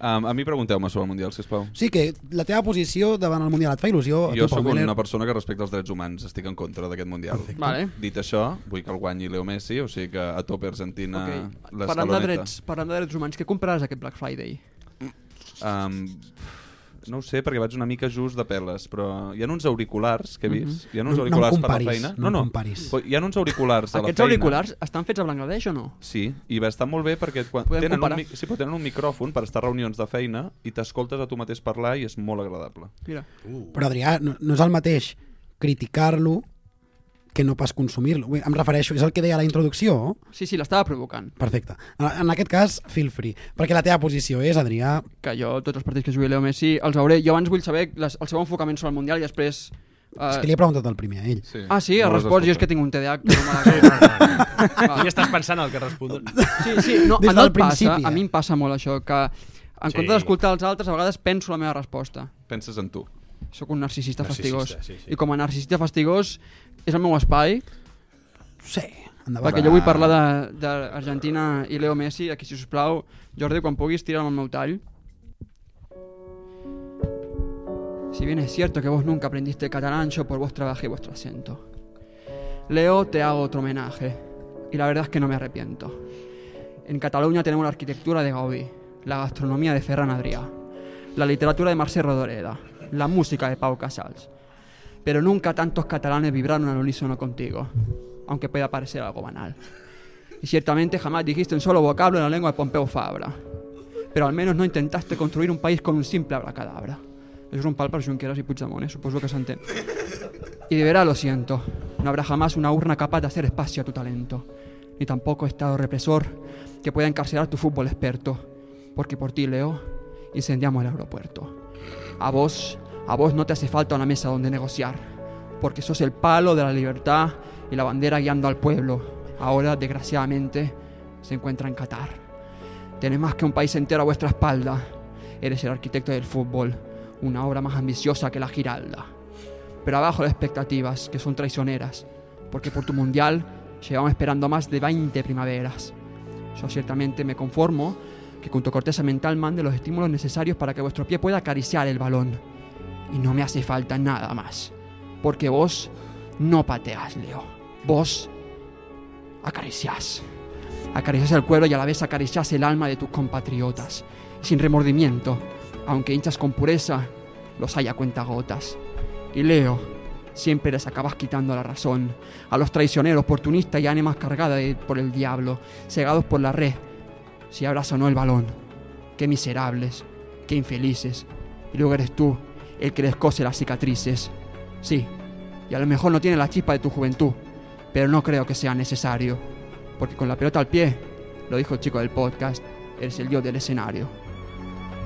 Um, a mi pregunteu-me sobre el Mundial, sisplau.
Sí, que la teva posició davant el Mundial et fa il·lusió? a
Jo
Oh, tu, Pau
sóc
Miller?
una persona que respecta els drets humans, estic en contra d'aquest Mundial.
Vale.
Dit això, vull que el guanyi Leo Messi, o sigui que a tope Argentina,
Okay.
okay.
Parlant de, drets, parlant de drets humans, què compraràs aquest Black Friday?
Um, no ho sé, perquè vaig una mica just de peles, però hi ha uns auriculars que he vist. Hi ha uns
Mhm. No- no em
auriculars per
comparis,
la feina.
no em
no,
comparis.
però Hi ha uns auriculars a la
Aquests
feina.
auriculars estan fets a Bangladesh o no?
Sí, i va estar molt bé perquè quan
Podem
tenen un,
comparar.
mic- sí, però tenen un micròfon per estar a reunions de feina i t'escoltes a tu mateix parlar i és molt agradable.
Mira.
Però Adrià, no, no és el mateix criticar-lo que no pas consumir-lo. Vull dir, Em refereixo, és el que deia a la introducció.
Sí, sí, l'estava provocant.
Perfecte. En, en aquest cas, feel free. Perquè la teva posició és, Adrià...
Que jo, tots els partits que jugui Leo Messi, els veuré. Jo abans vull saber les, el seu enfocament sobre el Mundial i després... Eh...
És que li he preguntat el primer a ell.
Sí.
Ah, sí?
No
Ha
l'has
respost, jo és
escoltat.
que tinc un TDAH. Que no me
Tu ja estàs pensant en el que respon.
Sí, sí, no,
Des
a, mi
del
em passa,
principi, eh?
a mi em passa molt això, que en
Sí.
comptes d'escoltar els altres, a vegades penso la meva resposta.
Penses en tu.
Sóc un
Narcisista,
narcisista, fastigós.
sí, sí.
I com a narcisista fastigós és el meu espai.
Sí, endavant.
Perquè jo vull parlar de- d'Argentina i Leo Messi, aquí, si us plau, Jordi, quan puguis, tira'm el meu tall. Si bien es cierto que vos nunca aprendiste catalán, yo por vos trabajé vuestro acento. Leo, te hago otro homenaje. Y la verdad es que no me arrepiento. En Cataluña tenemos la arquitectura de Gaudí, la gastronomía de Ferran Adrià, la literatura de Marcel Rodoreda, la música de Pau Casals. Pero nunca tantos catalanes vibraron al unísono contigo, aunque pueda parecer algo banal. Y ciertamente jamás dijiste un solo vocablo en la lengua de Pompeu Fabra. Pero al menos no intentaste construir un país con un simple abracadabra. Es un pal para Junqueras y Puigdemont, eh, supongo que se entiende. Y de verdad lo siento, no habrá jamás una urna capaz de hacer espacio a tu talento, ni tampoco estado represor que pueda encarcelar tu fútbol experto, porque por ti, Leo, incendiamos el aeropuerto. A vos, a vos no te hace falta una mesa donde negociar, porque sos el palo de la libertad y la bandera guiando al pueblo. Ahora, desgraciadamente, se encuentra en Qatar. Tenés más que un país entero a vuestra espalda. Eres el arquitecto del fútbol, una obra más ambiciosa que la Giralda. Pero abajo las expectativas, que son traicioneras, porque por tu mundial llevamos esperando más de 20 primaveras. Yo ciertamente me conformo que con tu corteza mental mande los estímulos necesarios para que vuestro pie pueda acariciar el balón. Y no me hace falta nada más, porque vos no pateas, Leo. Vos acariciás. Acariciás el cuero y a la vez acariciás el alma de tus compatriotas, sin remordimiento, aunque hinchas con pureza, los haya cuentagotas. Y Leo, siempre les acabas quitando la razón a los traicioneros, oportunistas y ánimas cargadas de- por el diablo, cegados por la red, si abraza o no el balón. Qué miserables, Qué infelices. Y luego eres tú el que les cose las cicatrices. Sí, y a lo mejor no tiene la chispa de tu juventud, pero no creo que sea necesario. Porque con la pelota al pie, lo dijo el chico del podcast, eres el dios del escenario.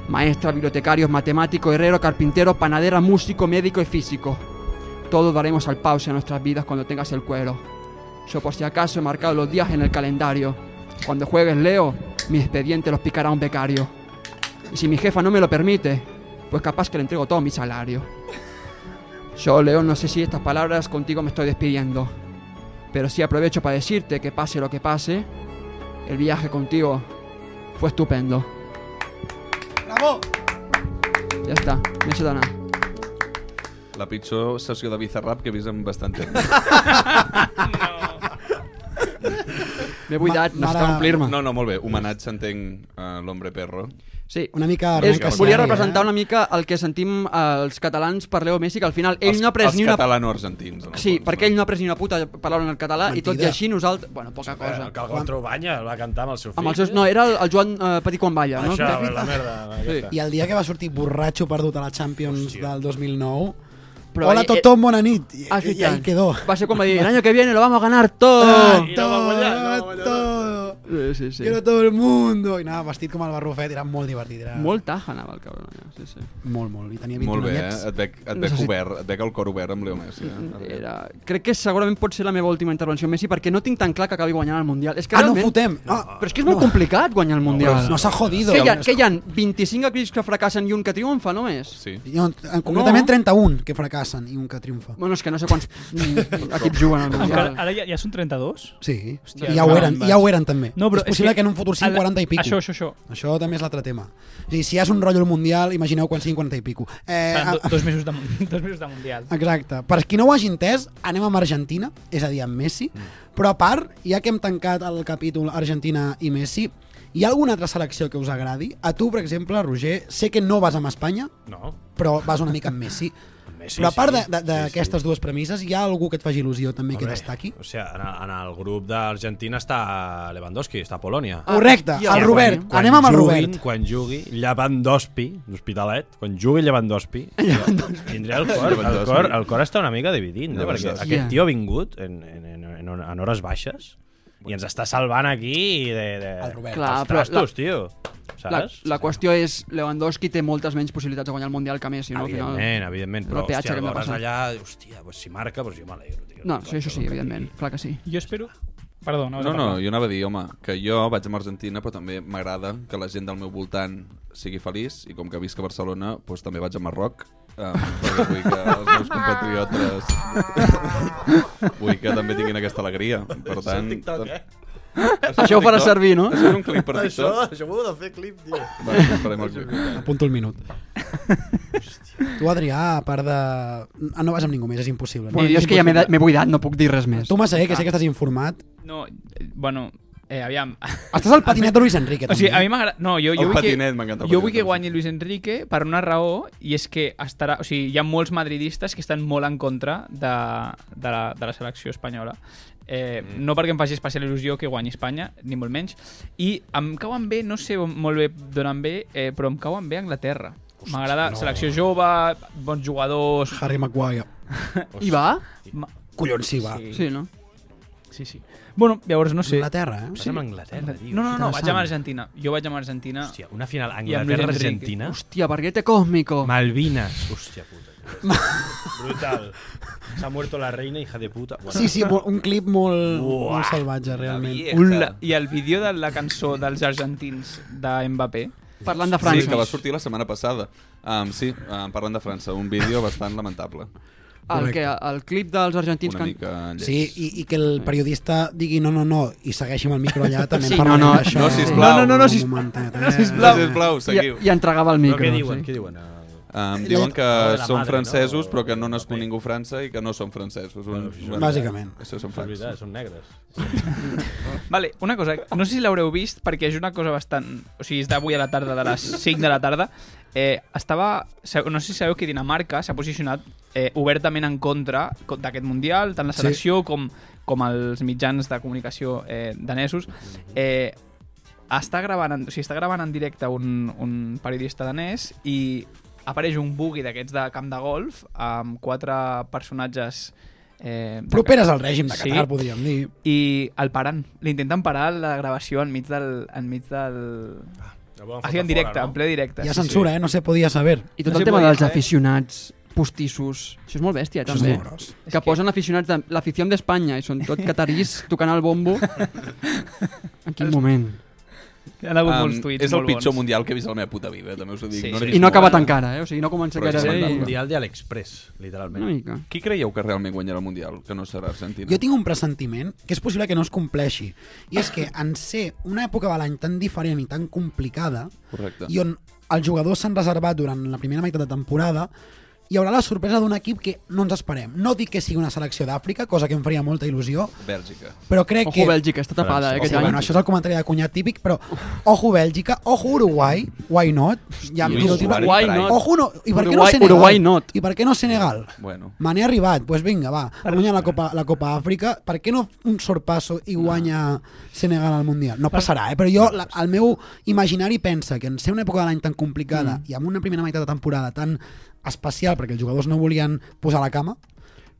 Maestra, bibliotecarios, matemático, herrero, carpintero, panadera, músico, médico y físico. Todos daremos al pause a nuestras vidas cuando tengas el cuero. Yo por si acaso he marcado los días en el calendario. Cuando juegues Leo, mi expediente los picará un becario. Y si mi jefa no me lo permite, pues capaz que le entrego todo mi salario. Yo, León, no sé si estas palabras contigo me estoy despidiendo, pero sí aprovecho para decirte que pase lo que pase, el viaje contigo fue estupendo.
¡Bravo!
Ya està, no he d'anar.
La pitjor sessió de Bizarrap que he vist en bastant temps.
M'he buidat,
Ma-
necessitava
mare-
omplir-me.
No, no, molt bé. Homenatge, entenc, a l'Hombre Perro.
Sí.
Una mica...
És,
mica
volia
ordinari,
representar una mica el que sentim eh, els catalans per Leo Messi, que al final ell
els,
no ha pres
els
ni una...
catalano-argentins. en el
Sí,
fons,
perquè ell no ha pres ni una puta paraula en el català i tot i
Mentida.
així nosaltres... Bueno, poca cosa.
El Calgón Trobanya el va cantar amb el seu fill.
Amb els seus... No, era el, el Joan eh, Petit quan balla, no?
Això, no? la merda. aquesta.
I el dia que va sortir borratxo perdut a la Champions
Hòstia.
del 2009...
Però
Hola a
ell-
tothom, bona nit! I,
Ah,
i, i ahí
tant.
quedó. Ah,
Va Ah, ser quan va dir, el año que viene lo vamos a ganar todo.
I no va guanyar, no va
Todo,
guanyar.
todo.
Sí, sí, sí.
Quiero todo el mundo. I anava vestit com el barrufet, era molt divertit. Era...
Molt taja anava el cabron allà, sí, sí.
Molt, molt. I tenia 21
Molt bé, eh?
anyets.
et veig, et veig
Necessit-
obert, et veig el cor obert amb Leo Messi.
Ah,
Eh?
Era... Crec que segurament pot ser la meva última intervenció amb Messi perquè no tinc tan clar que acabi guanyant el Mundial. És que
Ah, no
realment...
fotem! Ah,
Però és que és molt complicat guanyar el Mundial.
No s'ha jodido.
que hi ha, que hi ha 25 equips que fracassen i un que triomfa només?
Sí.
No, en- concretament
No.
31 que fracassen i un que triomfa.
Bueno, és que no sé quants mm, equips juguen al
Encara,
Mundial.
ara ja, ja són 32?
Sí,
Hòstia,
I ja ho
no,
eren,
em vaig.
ja ho eren també.
No, però
és possible
és que
que, en un futur
a
siguin
la-
40 i pico.
Això, això, això.
Això també és l'altre tema. O sigui, si hi has un rotllo al Mundial, imagineu quan siguin 40 i pico. Eh,
Seran do,
a-
dos, mesos de, mun- dos mesos de Mundial.
Exacte. Per qui no ho hagi entès, anem amb Argentina, és a dir, amb Messi,
Mm.
però a part, ja que hem tancat el capítol Argentina i Messi, hi ha alguna altra selecció que us agradi? A tu, per exemple, Roger, sé que no vas amb Espanya,
No,
però vas una mica amb Messi.
Messi,
Sí, però a part
sí.
de- de- d'aquestes sí, sí. dues premises, hi ha algú que et faci il·lusió també que
Hombre,
destaqui?
O sigui, en, en el grup d'Argentina està Lewandowski, està Polònia.
Ah,
Correcte,
hòstia,
el Robert.
quan-
Anem amb el
juguin,
Robert.
Quan jugui Lewandowski, l'Hospitalet, quan jugui Lewandowski, tindré el cor, el
Lewandowski.
cor, el cor està una mica dividint, eh? perquè
Lewandowski.
aquest
Ja.
tio ha vingut en, en, en, en, en hores baixes i ens està salvant aquí de, de,
El Robert.
Clar,
dels
però la-
trastos, tio.
La,
Saps?
la qüestió és, Lewandowski té moltes menys possibilitats de guanyar el Mundial que Messi, no? Al final-
Evidentment, evidentment,
és
però
el peatge
hòstia, el
que hem de
veuràs
passar.
allà, hòstia, pues, si marca, pues jo m'alegro. tio.
No, sí, això sí, evidentment, clar que sí.
Jo espero... Perdó, no,
No, no, jo anava a dir, home, que jo vaig amb Argentina, però també m'agrada que la gent del meu voltant sigui feliç, i com que visc a Barcelona, doncs també vaig a Marroc, eh, perquè vull que els meus compatriotes vull que també tinguin aquesta alegria. Per
Això
tant,
és TikTok, eh?
Això ho farà servir, no?
Això és un clip per
Això,
TikTok.
això m'ho heu de fer clip, tio.
Va, farem el clip.
Apunto el minut. tu, Adrià, a part de... Ah, no vas amb ningú més, és impossible. No?
Bueno, jo és que ja m'he da- m'he buidat, no puc dir res més.
Tu, Massaguer, que sé que estàs informat,
No, eh, bueno, eh, aviam...
estàs al patinet de Luis Enrique,
O
també.
sigui, a mi m'agrada... No, jo,
El
jo vull
patinet,
que,
m'encanta el patinet,
Jo vull
doncs.
que guanyi Luis Enrique per una raó, i és que estarà... O sigui, hi ha molts madridistes que estan molt en contra de, de, la, de la selecció espanyola. Eh,
Mm.
no perquè em faci especial il·lusió que guanyi Espanya, ni molt menys. I em cauen bé, no sé on- molt bé d'on em ve, eh, però em cauen bé Anglaterra. M'agrada no. selecció jove, bons jugadors...
Harry Maguire.
I va?
ma-
Collons, sí, va. Sí.
Sí, no?
Sí, sí. Bueno, llavors no sé...
Anglaterra, eh?
Vas amb Anglaterra, tio.
No, no, no, vaig
Interessant.
amb Argentina. Jo vaig amb Argentina.
Hòstia, una final
I amb Luis Enrique.
Anglaterra-Argentina.
Hòstia, barguete cósmico.
Malvinas. Hòstia puta. Brutal. S'ha muerto la reina, hija de puta. Bueno,
Sí, sí, mo- un clip molt, molt salvatge, realment.
Ula, I el vídeo de la cançó dels argentins de Mbappé.
Parlant de
Sí,
França.
que va sortir la setmana passada. Um, sí, um, parlant de França, un vídeo bastant lamentable.
El, que, el clip dels argentins...
Una
que han-
mica lleig.
Sí, i, i que el periodista digui no, no, no, i segueixi amb el micro allà, també en
Sí,
parlarem
no, no,
d'això.
no, sisplau. No, no, no, no,
Un
sis-
momentet, eh?
No, sisplau, sisplau,
I,
seguiu.
I entregava el
Però
micro.
què diuen?
Sí.
Què diuen? Eh,
Um, diuen que
de la
són
madre,
francesos,
no?
però que no nascut ningú a França i que no són francesos. Un,
Bàsicament.
Això són
És
francesos.
veritat, són negres.
Vale, una cosa, no sé si l'haureu vist perquè és una cosa bastant... O sigui, és d'avui a la tarda, de les 5 de la tarda. Eh, estava... sa- No sé si sabeu que Dinamarca s'ha posicionat eh, obertament en contra co- d'aquest Mundial, tant la
Sí.
selecció com, com els mitjans de comunicació eh, danesos. Eh, està gravant, en, o sigui, està gravant en directe un, un periodista danès i apareix un bugui d'aquests de camp de golf amb quatre personatges eh, de
Properes
Ca-
al règim de Qatar, podríem dir.
I el paren. L'intenten parar la gravació enmig del... Enmig del... Així en directe, en ple directe.
Hi ha censura, eh? No se podia saber.
I tot el tema dels
eh?
aficionats postissos, això és molt bèstia,
Això és
també.
molt gros.
que, posen aficionats de l'afició d'Espanya i són tot catarís tocant el bombo. en quin moment?
Um, és el pitjor mundial que he vist a la meva puta vida, també us ho dic.
Sí,
n'he
sí.
vist
I no ha acabat
molt.
encara, eh? O sigui, no comença
Però és
gaire
el
bé.
mundial
de l'Express, literalment.
Una mica.
Qui creieu que realment guanyarà el Mundial? Que no serà Argentina.
Jo tinc un pressentiment que és possible que no es compleixi. I és que en ser una època de l'any tan diferent i tan complicada,
Correcte.
i on els jugadors s'han reservat durant la primera meitat de temporada, hi haurà la sorpresa d'un equip que no ens esperem. No dic que sigui una selecció d'Àfrica, cosa que em faria molta il·lusió,
Bèlgica.
però crec
Ojo,
que...
Bèlgica, està tapada, eh, aquest
sí,
any.
Bueno, això és el comentari de cunyat típic, però ojo Bèlgica, ojo Uruguai, why not? Ja em
Lluís,
tiro el triple.
Uruguai not.
Ojo no, i per què no
Uruguai-
Senegal?
Uruguai not.
I per què no Senegal?
Bueno.
Mané ha arribat, doncs pues vinga, va, ha guanyat la Copa, la Copa Àfrica, per què no un sorpasso i guanya Senegal al Mundial? No passarà, eh? però jo, la, el meu imaginari pensa que en ser una època de l'any tan
Mm.
complicada i amb una primera meitat de temporada tan especial perquè els jugadors no volien posar la cama,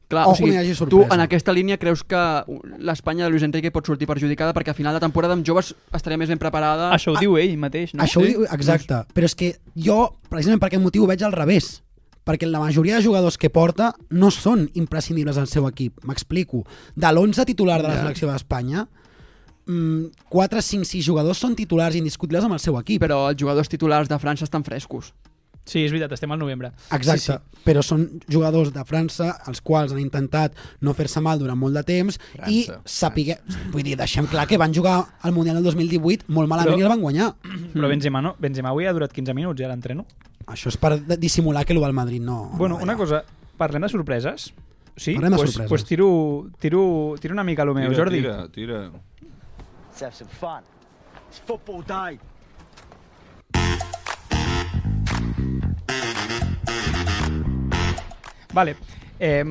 Clar,
Ojo
o sigui,
que hi hagi
tu
sorpresa.
en aquesta línia creus que l'Espanya de Luis Enrique pot sortir perjudicada perquè a final de temporada amb joves estaria més ben preparada.
Això ho diu ell mateix, no?
Això ho diu, exacte. Però és que jo, precisament per aquest motiu, ho veig al revés. Perquè la majoria de jugadors que porta no són imprescindibles al seu equip. M'explico. De l'11 titular de la
Ja.
selecció d'Espanya, mm, 4, 5, 6 jugadors són titulars indiscutibles amb el seu equip.
Però els jugadors titulars de França estan frescos.
Sí, és veritat, estem al novembre.
Exacte, sí, sí. però són jugadors de França els quals han intentat no fer-se mal durant molt de temps França, i sapigue... Vull dir, deixem clar que van jugar al Mundial del 2018 molt malament
Però-
però... i el van guanyar.
Però Benzema no. Benzema avui ha durat 15 minuts, ja l'entreno.
Això és per dissimular que lo del Madrid Ah, no...
Bueno, una cosa, parlem de sorpreses. Sí,
Parlem de
pues,
sorpreses.
Pues tiro, tiro, tiro una mica a lo meu,
Tira,
Jordi.
Tira, tira.
Let's have some fun. It's football day.
Vale. Eh,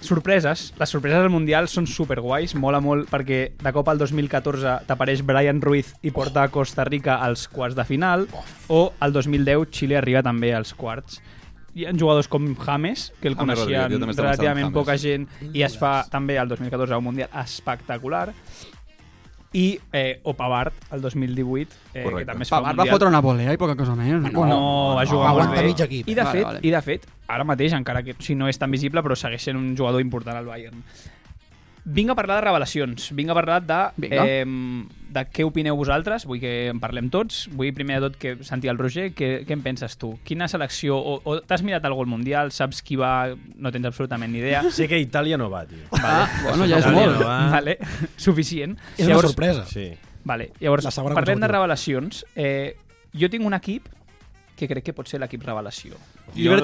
sorpreses. Les sorpreses al Mundial són superguais, mola molt, perquè de cop al 2014 t'apareix Brian Ruiz i porta a Costa Rica als quarts de final, o al 2010 Xile arriba també als quarts. Hi ha jugadors com James, que el
James
coneixien
Rodríguez, jo Ah, també estava pensant en
relativament
James.
poca gent, i es fa també al 2014 un Mundial espectacular. I eh, o Pavard, el 2018, eh, que
Correcte.
també es fa un
Pavard va
Mundial.
fotre una volea i poca cosa més.
No, no, va
Ah,
jugar molt bé. I de,
Vale,
fet,
vale.
I de fet, ara mateix, encara que si no és tan visible, però segueix sent un jugador important al Bayern. Vinc a parlar de revelacions, vinc a parlar de,
Vinga.
eh, de què opineu vosaltres, vull que en parlem tots, vull primer de tot que sentir el Roger, què, què en penses tu? Quina selecció, o, o t'has mirat algú al Mundial, saps qui va, no tens absolutament ni idea.
Sé que Itàlia no va, tio.
Vale.
Ah.
bueno, ja és Itàlia molt. no
eh?
va.
Vale. Suficient.
És una sorpresa. Sí.
Vale. Llavors,
La segona
parlem de
consecutiva.
revelacions. Eh, jo tinc un equip que crec que pot ser l'equip revelació.
Jo- Jo no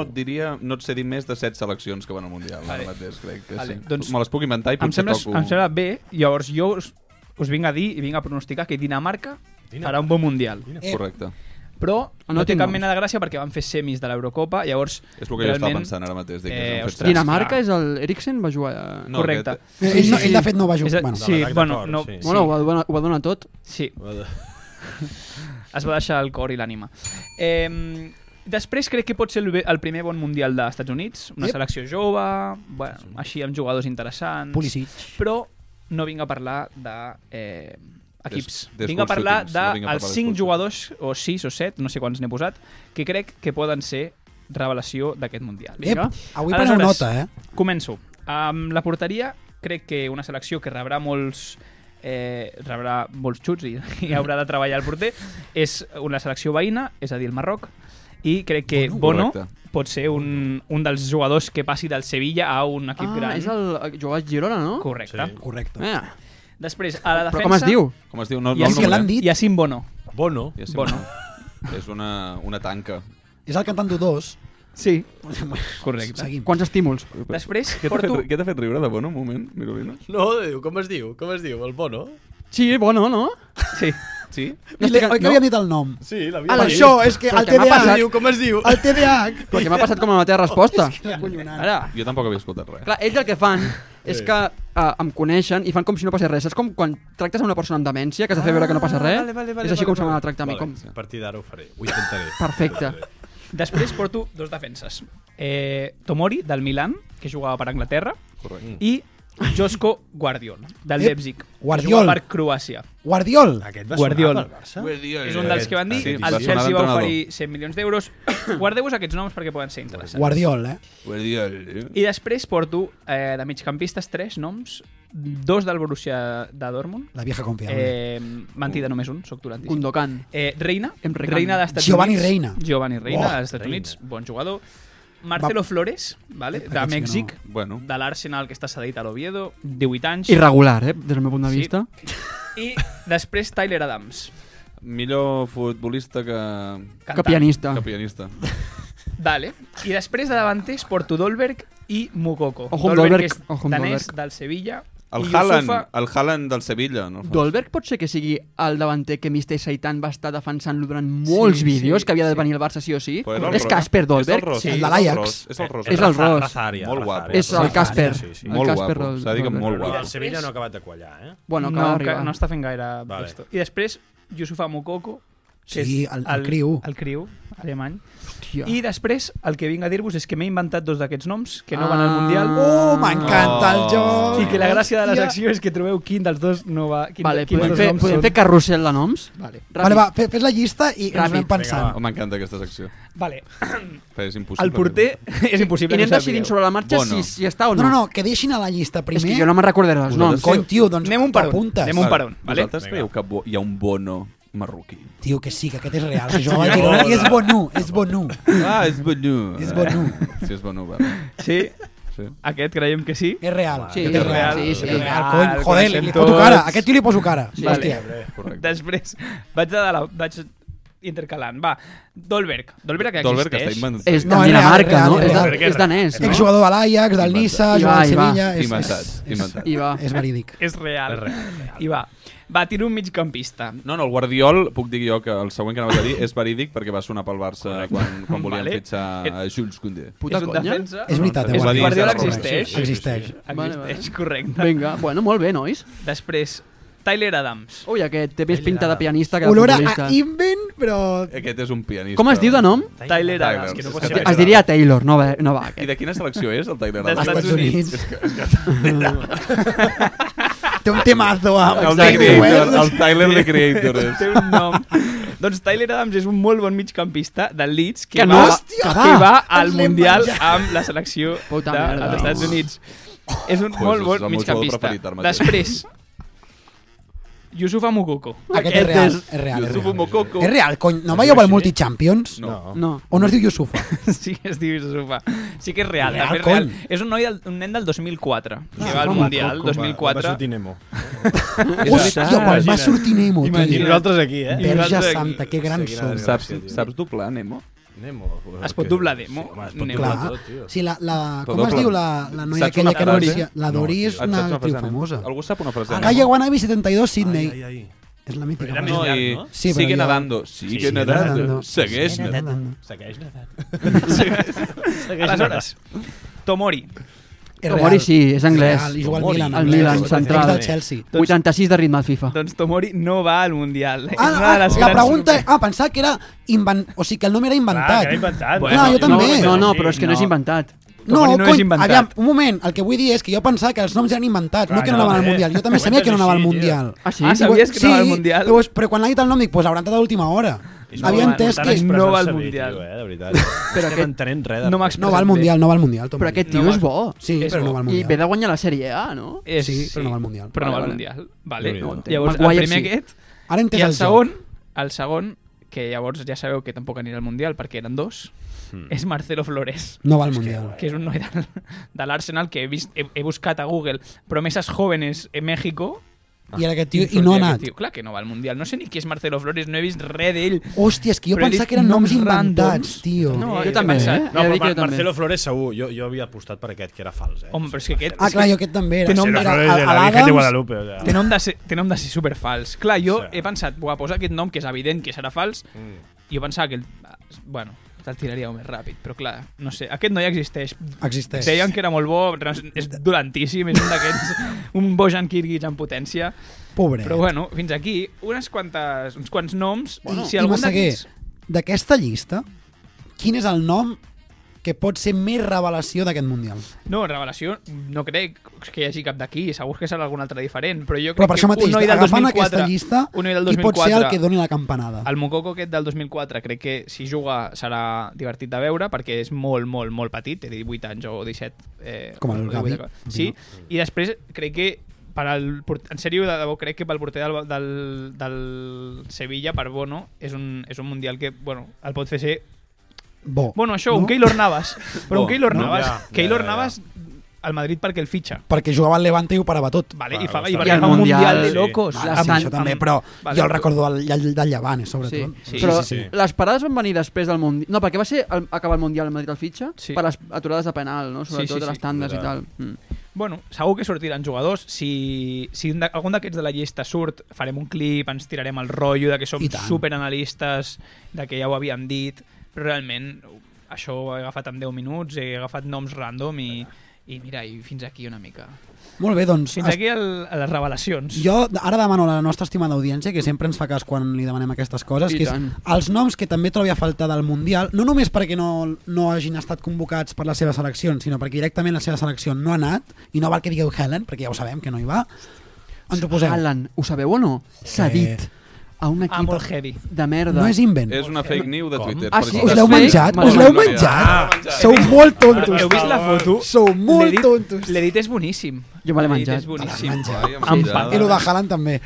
et diria, no et sé dir més de set seleccions que van al Mundial. Vale. Ara mateix, crec que
Vale,
sí. Doncs, Me les puc inventar i
Em
potser
sembla,
toco...
em sembla bé, llavors jo us, us vinc a dir i vinc a pronosticar que Dinamarca, farà un bon Mundial.
Eh. Correcte.
Però
No
no, té
tinc
cap
noms.
mena de gràcia perquè van fer semis de l'Eurocopa, llavors...
És el que jo estava pensant ara mateix, dic, és un fet
ostres,
Dinamarca és el Eriksen va jugar... eh?
No, Correcte. aquest-
Ell no- ell de fet no va jugar-
És a-
Ah, bueno.
sí,
De l'atac de
bueno,
cor,
no,
sí.
Bueno, ho va, donar- ho va donar tot.
Sí. es va deixar el cor i l'ànima. Eh, després crec que pot ser el, be- el primer bon mundial dels Estats Units, una
Yep.
selecció jove, bueno, així amb jugadors interessants.
Pulisic.
Però no vinc a parlar de... Eh, equips.
Des- des
vinc a parlar
consultings,
dels
no
de
vinc a parlar
els
dels
5 jugadors, o 6 o 7, no sé quants n'he posat, que crec que poden ser revelació d'aquest Mundial.
Ep, avui preneu
Aleshores,
nota, eh?
Començo. Amb la porteria, crec que una selecció que rebrà molts eh, rebrà molts xuts i, i haurà de treballar el porter, és una selecció veïna, és a dir, el Marroc, i crec que Bono,
Bono.
pot ser un, un dels jugadors que passi del Sevilla a un equip
Ah,
gran.
és el... Jugava a Girona, no?
Correcte. Sí.
Correcte.
Eh.
Després, a la defensa...
Però com es diu?
Com es diu? No,
I
no
és
el
que
nombrem.
l'han dit. Yassin Bono.
Bono.
Yassin
Bono.
Bono. és una, una tanca.
És el cantant d'U2.
Sí.
Correcte.
Seguim.
Quants estímuls?
Després
Què t'ha
porto-
fet, què t'ha fet riure de Bono, un moment, Mirolina?
No, diu, com es diu? Com es diu? El Bono?
Sí, Bono, no?
Sí.
Sí?
No estic, oi que havíem dit el nom?
Sí, l'havíem
Ara,
dit.
Això, és que
Però
el
que m'ha
TDAH...
passat- Diu, com es diu?
El TDAH...
Perquè m'ha passat com a la teva resposta. Ara,
Jo tampoc havia escoltat res.
clar, ells el que fan és que uh, em coneixen i fan com si no passés res. És com quan tractes a una persona amb demència, que has de fer veure que no passa res.
Vale, vale, vale,
és així
vale,
com se
vale.
m'ha de tractar a mi.
Vale,
Com...
A partir d'ara ho faré, ho intentaré.
Perfecte.
Després porto dos defenses. Eh, Tomori, del Milan, que jugava per Anglaterra,
Correcte.
i Josko Guardiol, del
Eh,
Ep,
Leipzig,
Guardiol.
que jugava per Croàcia.
Guardiol.
Aquest
va sonar
Guardiol.
pel Barça?
Mm. És un dels que van dir.
Sí,
el
va sonar
Chelsea va
d'entrenador.
oferir 100 milions d'euros. Guardeu-vos aquests noms perquè poden ser interessants.
Guardiol, eh?
Guardiol.
I després porto eh, de migcampistes tres noms, dos del Borussia de Dortmund.
La vieja confiable.
Eh, mentida, només un, sóc tolantíssim.
Gundogan.
Eh, Reina,
Emre Can.
Reina d'Estats
Giovanni
Units.
Reina.
Giovanni Reina,
Oh,
dels Estats
Reina.
Units, bon jugador. Marcelo Flores, vale, de
Aquest sí que
Mèxic,
no.
bueno.
de l'Arsenal que està cedit a l'Oviedo, 18 anys.
Irregular, eh? Des del meu punt de vista.
I després Tyler Adams,
Millor futbolista que...
Que pianista.
Que pianista.
Vale. I després de davanters porto Dolberg i Mukoko.
Ojo amb Dolberg,
que és
ojo amb
danès
Dolberg.
del Sevilla.
El
i
Haaland,
Yusufa-
el Haaland del Sevilla. No?
Dolberg pot ser que sigui el davanter que Mister Seitan va estar defensant-lo durant molts vídeos, que havia de venir al Barça sí o sí.
Però era el
És
Ros-
Casper
eh?
és el
Dolberg.
Ros, Sí. és el de l'Ajax. Ros, és el Ros.
És el
Raza-
Ros.
Razaria,
Molt guapo.
És el
Razaria,
Casper.
sí, sí.
El
Molt
Casper
guapo.
Dol-
S'ha de dir que
Dolberg.
molt
I
guapo.
el Sevilla no ha acabat de quallar, eh?
Bueno,
no,
acaba
que
d'arribar.
no està fent gaire
Vale.
vale. I després, Yusufa Mukoko, que
Sí,
és
el- el criu.
El criu, alemany.
Hòstia.
I després, el que vinc a dir-vos és que m'he inventat dos d'aquests noms que no van al
Ah.
Mundial.
Oh, m'encanta el joc!
I que la gràcia de la
Hòstia.
secció és que trobeu quin dels dos no va... Quin,
Vale,
quin
podem
dels
fer,
noms
podem
són.
fer carrusel de noms?
Vale.
Vale, va, fe- fes la llista i ens anem pensant.
Oh, M'encanta aquesta secció.
Vale.
Però és impossible.
El porter és impossible
I
que
anem decidint
sapigueu.
sobre la marxa
Bono.
si, si està o
No,
no.
no, no, que deixin a la llista primer.
És que jo no me'n recordaré els noms.
Cony, tio, doncs
Anem un per un,
t'apuntes.
anem un per un, vale?
Vosaltres creieu que bo, hi ha un bono marroquí?
Tio, que sí, que aquest és real, que jugava al Girona i és Bonu, és Bonu.
Ah, és bonu.
És bonu.
Sí, és bonu, vale.
Sí?
Sí.
Aquest creiem que sí.
És real.
Sí,
aquest és
és
real.
real, sí, sí.
És real,
Ah,
cony. Joder, li,
el coneixem
li poso
tots.
cara. Aquest tio li poso cara.
Sí.
Hòstia.
Correcte.
Després vaig, de la, vaig intercalant. Va, Dolberg. Dolberg que
Dolberg està
existeix.
inventat.
És de
No, és real,
Dinamarca,
real,
no?
és
És,
real.
de, és danès, no?
Exjugador de l'Ajax, del Nissa,
I va,
jugador al
i va.
Sevilla... És,
Inventat,
és,
inventat.
I va.
És, és verídic.
És real.
És real, és real.
I va. Va, tiro un migcampista.
No, no, el Guardiol, puc dir jo que el següent que anaves a dir és verídic perquè va sonar pel Barça quan, quan volien
Vale.
vale. fitxar a Jules Condé.
Puta
és un
conya.
defensa.
És veritat, eh?
És la Guardiola
Guardiola.
existeix.
Existeix.
Vale,
Existeix, correcte.
Vinga, bueno, molt bé, nois.
Després, Tyler Adams.
Ui, aquest té més pinta de pianista que de
Olora a
futbolista.
invent, però...
Aquest és un pianista.
Com es diu de nom?
Tyler Adams.
Tyler.
Que no pot
Es
ser
di-
més
Es diria Taylor, no va, eh, no va
I
aquest.
de quina selecció és, el Tyler
Dels
Adams?
Estats
Units.
És que,
Té un temazo eh, amb...
el, The
Exacte.
Creator,
doncs-
el Tyler the Creator és.
Té un nom. doncs Tyler Adams és un molt bon migcampista del Leeds que,
Que no,
va,
hòstia,
que
va,
va
ens
al
l'hem
Mundial
menjat.
amb la selecció dels
Puta merda.
Estats Units. És un
Pues és
molt
el
bon
meu jugador
migcampista.
preferit ara mateix.
Després, Yusufa Mukoko.
Ah, Aquest és real, és real. És
Yusufu
real,
Mokoko.
és real cony. No veieu el Multichampions?
No.
No.
O no es diu Yusufa?
Sí que es diu Yusufa. Sí que és real,
Real,
també és
cony.
real. És un, noi del, un nen del 2004, que va al
Yusufa
Mundial,
Va,
Mukoko,
va
2004.
sortir Nemo.
Hòstia, quan va
Imagina't.
sortir Nemo,
I
tio.
nosaltres aquí, eh?
I
Verge
nosaltres-
Santa, que gran
Seguint
som.
adelante.
Saps, saps doblar, Nemo?
Nemo.
Es pot doblar Nemo?
Sí, home, es pot
Nemo.
doblar
Clar.
tot, tio.
Sí, la, la,
Tot
com es
doble.
diu la, la noia
Saps
aquella
una
que anuncia?
frase?
La Dori és
Et
una
saps
actriu
frase, Nemo?
famosa. Ah,
Algú sap una frase? de
Calle
Nemo?
Wannabe 72, Sydney.
Ai, ai, ai.
És la mítica.
Era
No,
frase.
més
i
llarg, no?
Sí, però
sigue
ja-
nadando, sigue,
sigue
nadando,
nadando.
segueix
Segueix
nadando.
nadant.
Segueix nedant.
Aleshores, Tomori.
És
Tomori
real.
sí, és anglès.
Real, I juga al
Tomori.
Milan.
Al
anglès.
Milan,
És
central.
del Chelsea.
Doncs-
86 de ritme al FIFA.
Doncs Tomori no va al Mundial. És
Ah,
una de
ah,
les
la
grans
pregunta... Ah, pensava que era... Invent... O sigui, que el nom era
Clar, que
inventat.
l'he inventat.
Bueno, jo també.
No, no, però és que no és inventat.
No,
Tomori no és
cony,
inventat.
aviam, un moment, el que vull dir és que jo pensava que els noms eren inventats, no
Ah,
que no
no,
anaven al
eh?
Mundial. Jo també
Ho
sabia que no anava al
entes així, tio.
Mundial.
Ah, sí?
Ah, sabies que no anava al Mundial?
Llavors, però quan ha dit el nom dic, pues hauran estat a última hora. Havia
molt
entès
important
que...
expressar-se
no va al
bé,
Mundial.
tio,
eh, de veritat. Però
aquest-
que entenem res. de
No
res.
m'explico.
No va al Mundial, no va al Mundial, Tomori.
Però aquest tio és bo.
Sí,
És
però no
bo.
va al
I
Mundial.
ve de guanyar la Sèrie A, no?
És,
Sí, però no va al Mundial.
Però no
Vale,
va al
vale.
Mundial. Vale.
Déu-n'hi-do.
Llavors, el
Maguire
primer
sí.
aquest,
Ara he entès
I el
joc.
segon, el segon, que llavors ja sabeu que tampoc anirà al Mundial perquè eren dos, és Marcelo Flores,
No va al Mundial.
que és un noi de, de l'Arsenal que he, vist, he, he buscat a Google promesas jóvenes en México
I era aquest tio i no ha
sortia aquest
anat.
Tio, clar que no va al Mundial. No sé ni qui és Marcelo Flores, no he vist res d'ell.
Hòstia, és que jo
Però he
pensava
dit
que eren noms
noms
inventats,
randoms.
tio.
No,
Jo
eh,
també,
he
eh?
pensat.
Ja
No,
dic
però
que
Mar
jo també.
Marcelo Flores segur. Jo, jo havia apostat per aquest, que era fals, eh?
Home, però és que aquest...
Ah, clar, jo aquest també era.
Té nom
Era
de
a-
Flores de
a
la Virgen de
l'Adams,
Guadalupe. O sea.
Té nom, de ser, té nom de ser superfals. Clar, jo
Sí.
he pensat, buah, posa aquest nom que és evident que serà fals, i jo pensava que... El, bueno, te'l tiraria més ràpid, però clar, no sé, aquest noi existeix.
Existeix.
Deien que era molt bo, però és- és dolentíssim, és un d'aquests, un Bojan Kirguis en potència.
Pobret.
Però bueno, fins aquí, unes quantes, uns quants noms.
Bueno,
i si
I
algun
Massaguer,
d'aquests...
d'aquesta llista, quin és el nom que pot ser més revelació d'aquest Mundial?
No, revelació, no crec que hi hagi cap d'aquí, segur que serà algun altre diferent, però jo crec
Però per això
que
mateix,
un noi del
agafant
2004,
aquesta llista,
un noi del
qui
2004,
pot ser el que doni la campanada?
El Mococo aquest del 2004 crec que si juga serà divertit de veure perquè és molt, molt, molt petit, té 18 anys o 17. Eh,
Com el
o
Gavi.
18, Sí, i després crec que per al, port- en sèrio, de debò, crec que pel porter del, del, del Sevilla, per Bono, és un, és un mundial que, bueno, el pot fer ser...
Bo.
Bueno, això,
no?
un Keylor Navas. Però
Bo,
un Keylor
Oh, no?
Navas...
Ja, ja,
Keylor
ja, ja.
Navas al Madrid perquè el fitxa.
Perquè jugava al Levante i ho parava tot.
Vale, i, fa, i, perquè fa un mundial de locos.
Vale, sí, això també, però jo el recordo del, del, del Llevant, eh, sobretot.
Sí, però sí, sí. les parades van venir després del Mundial. No, perquè va ser el, acabar el Mundial al Madrid al fitxa sí. per les aturades de penal, no? sobretot sí, sí, sí. les tandes i tal.
Mm. Bueno, segur que sortiran jugadors. Si, si un de- algun d'aquests de la llista surt, farem un clip, ens tirarem el rotllo de que som
I tant.
superanalistes, de que ja ho havíem dit, però realment això ho he agafat en 10 minuts, he agafat noms random i, i mira, i fins aquí una mica.
Molt bé, doncs...
Fins
es-
aquí el, a les revelacions.
Jo ara demano a la nostra estimada audiència, que sempre ens fa cas quan li demanem aquestes coses,
I
que és
tant.
els noms que també trobia faltar del Mundial, no només perquè no, no hagin estat convocats per la seva selecció, sinó perquè directament la seva selecció no ha anat, i no val que digueu Helen, perquè ja ho sabem que no hi va. Ens ho posem.
Alan, ho sabeu o no? S'ha
Eh.
dit a un equip
Ah, molt heavy.
de merda.
No és invent.
És una fake news de Twitter.
Ah,
per
sí?
exemple.
Us l'heu
menjat?
Molt
Us l'heu
gloriós.
menjat?
Ah, menjat.
Sou molt tontos.
Heu vist la foto?
Sou molt
L'he dit-
tontos.
L'he dit és boníssim.
Jo me l'he
L'he dit,
menjat.
És boníssim.
I el de Haaland també.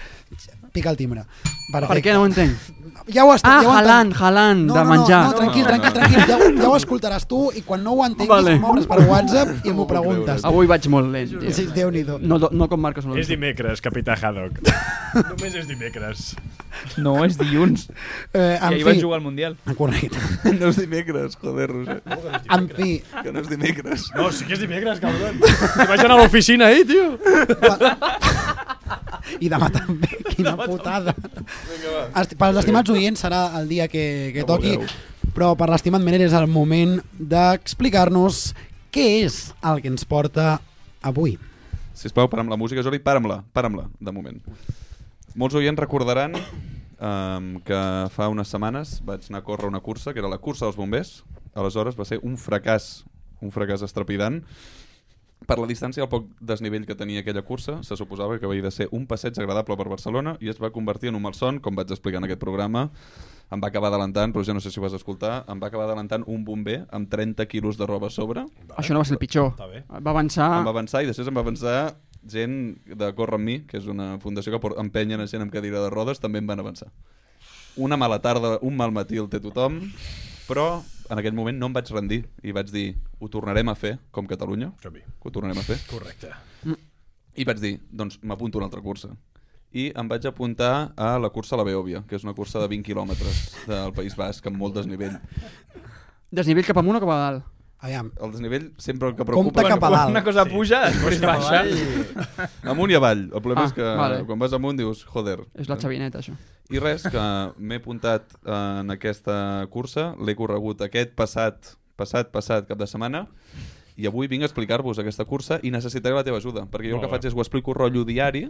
Pica el timbre. Perfecte.
Per què no ho entenc?
Ja ho està,
ah,
ja ho entenc.
Haaland, Haaland,
No,
de
no, no,
menjar.
no, tranquil, tranquil, tranquil. Ja, ho- ja ho escoltaràs tu i quan no ho entenguis vale.
Vale.
m'obres per WhatsApp i m'ho preguntes.
Avui vaig molt lent, tio.
Sí, Déu-n'hi-do.
No, no com Marcos Alonso.
És dimecres, capità Haddock. Només és dimecres.
No, és dilluns.
Eh,
I ahir van jugar al Mundial.
Correcte.
No és dimecres, joder, Roger.
En fi...
Que no és dimecres.
No, sí que és dimecres, cabron. Que vaig anar a l'oficina ahir, tio.
I demà també, quina putada.
Vinga,
Esti- Per als estimats oients serà el dia que, que toqui, però per l'estimat Mener és el moment d'explicar-nos què és el que ens porta avui.
Sisplau, para'm la música, Jordi, para'm-la, para'm-la, de moment. Molts oients recordaran um, que fa unes setmanes vaig anar a córrer una cursa, que era la cursa dels bombers. Aleshores va ser un fracàs, un fracàs estrepidant. Per la distància i el poc desnivell que tenia aquella cursa, se suposava que havia de ser un passeig agradable per Barcelona i es va convertir en un malson, com vaig explicar en aquest programa. Em va acabar adelantant, però ja no sé si ho vas escoltar, em va acabar adelantant un bomber amb 30 quilos de roba a sobre.
Això no va ser el pitjor. Va avançar...
Em va avançar i després em va avançar gent de Corre amb mi, que és una fundació que por- empenyen a gent amb cadira de rodes, també em van avançar. Una mala tarda, un mal matí el té tothom, però en aquell moment no em vaig rendir i vaig dir, ho tornarem a fer, com Catalunya, que ho tornarem a fer.
Correcte.
I vaig dir, doncs m'apunto a una altra cursa. I em vaig apuntar a la cursa a la Beòvia, que és una cursa de 20 quilòmetres del País Basc, amb molt desnivell.
Desnivell cap amunt o cap a dalt?
Aviam.
El desnivell sempre el que preocupa...
Compte cap a dalt. Una cosa
puja, després baixa.
Amunt i avall. El problema
Ah,
ah, és que vale.
vale.
quan vas amunt dius, joder.
És la xavineta, això.
I res, que m'he apuntat eh, en aquesta cursa, l'he corregut aquest passat, passat, passat cap de setmana, i avui vinc a explicar-vos aquesta cursa i necessitaré la teva ajuda, perquè jo el
Molt
que
bé.
faig és ho explico rotllo diari,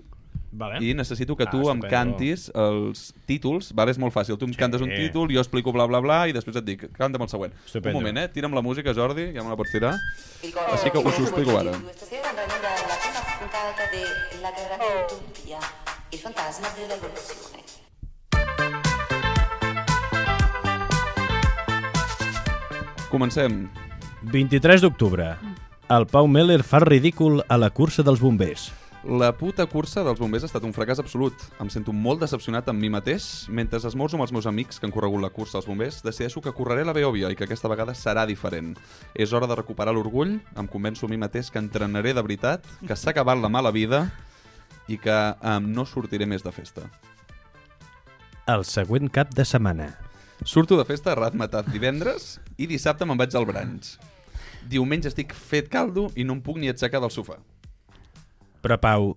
Vale.
i necessito que
Ah,
tu em
estupendo.
cantis els títols, vale? és molt fàcil, tu em cantes un títol, jo explico bla bla bla i després et dic, canta'm el següent.
Estupendo.
Un moment, eh? Tira'm la música, Jordi, ja me la pots tirar. Així que us ho explico ara.
puntata della guerra d'Utopia, il fantasma della rivoluzione.
Comencem.
23 d'octubre. El Pau Meller fa ridícul a la cursa dels bombers.
La puta cursa dels bombers ha estat un fracàs absolut. Em sento molt decepcionat amb mi mateix. Mentre esmorzo amb els meus amics que han corregut la cursa als bombers, decideixo que correré la Beòvia i que aquesta vegada serà diferent. És hora de recuperar l'orgull, em convenço a mi mateix que entrenaré de veritat, que s'ha acabat la mala vida i que um, no sortiré més de festa.
El següent cap de setmana.
Surto de festa a ratmetat divendres i dissabte me'n vaig al branx. Diumenge estic fet caldo i no em puc ni aixecar del sofà.
Però, Pau,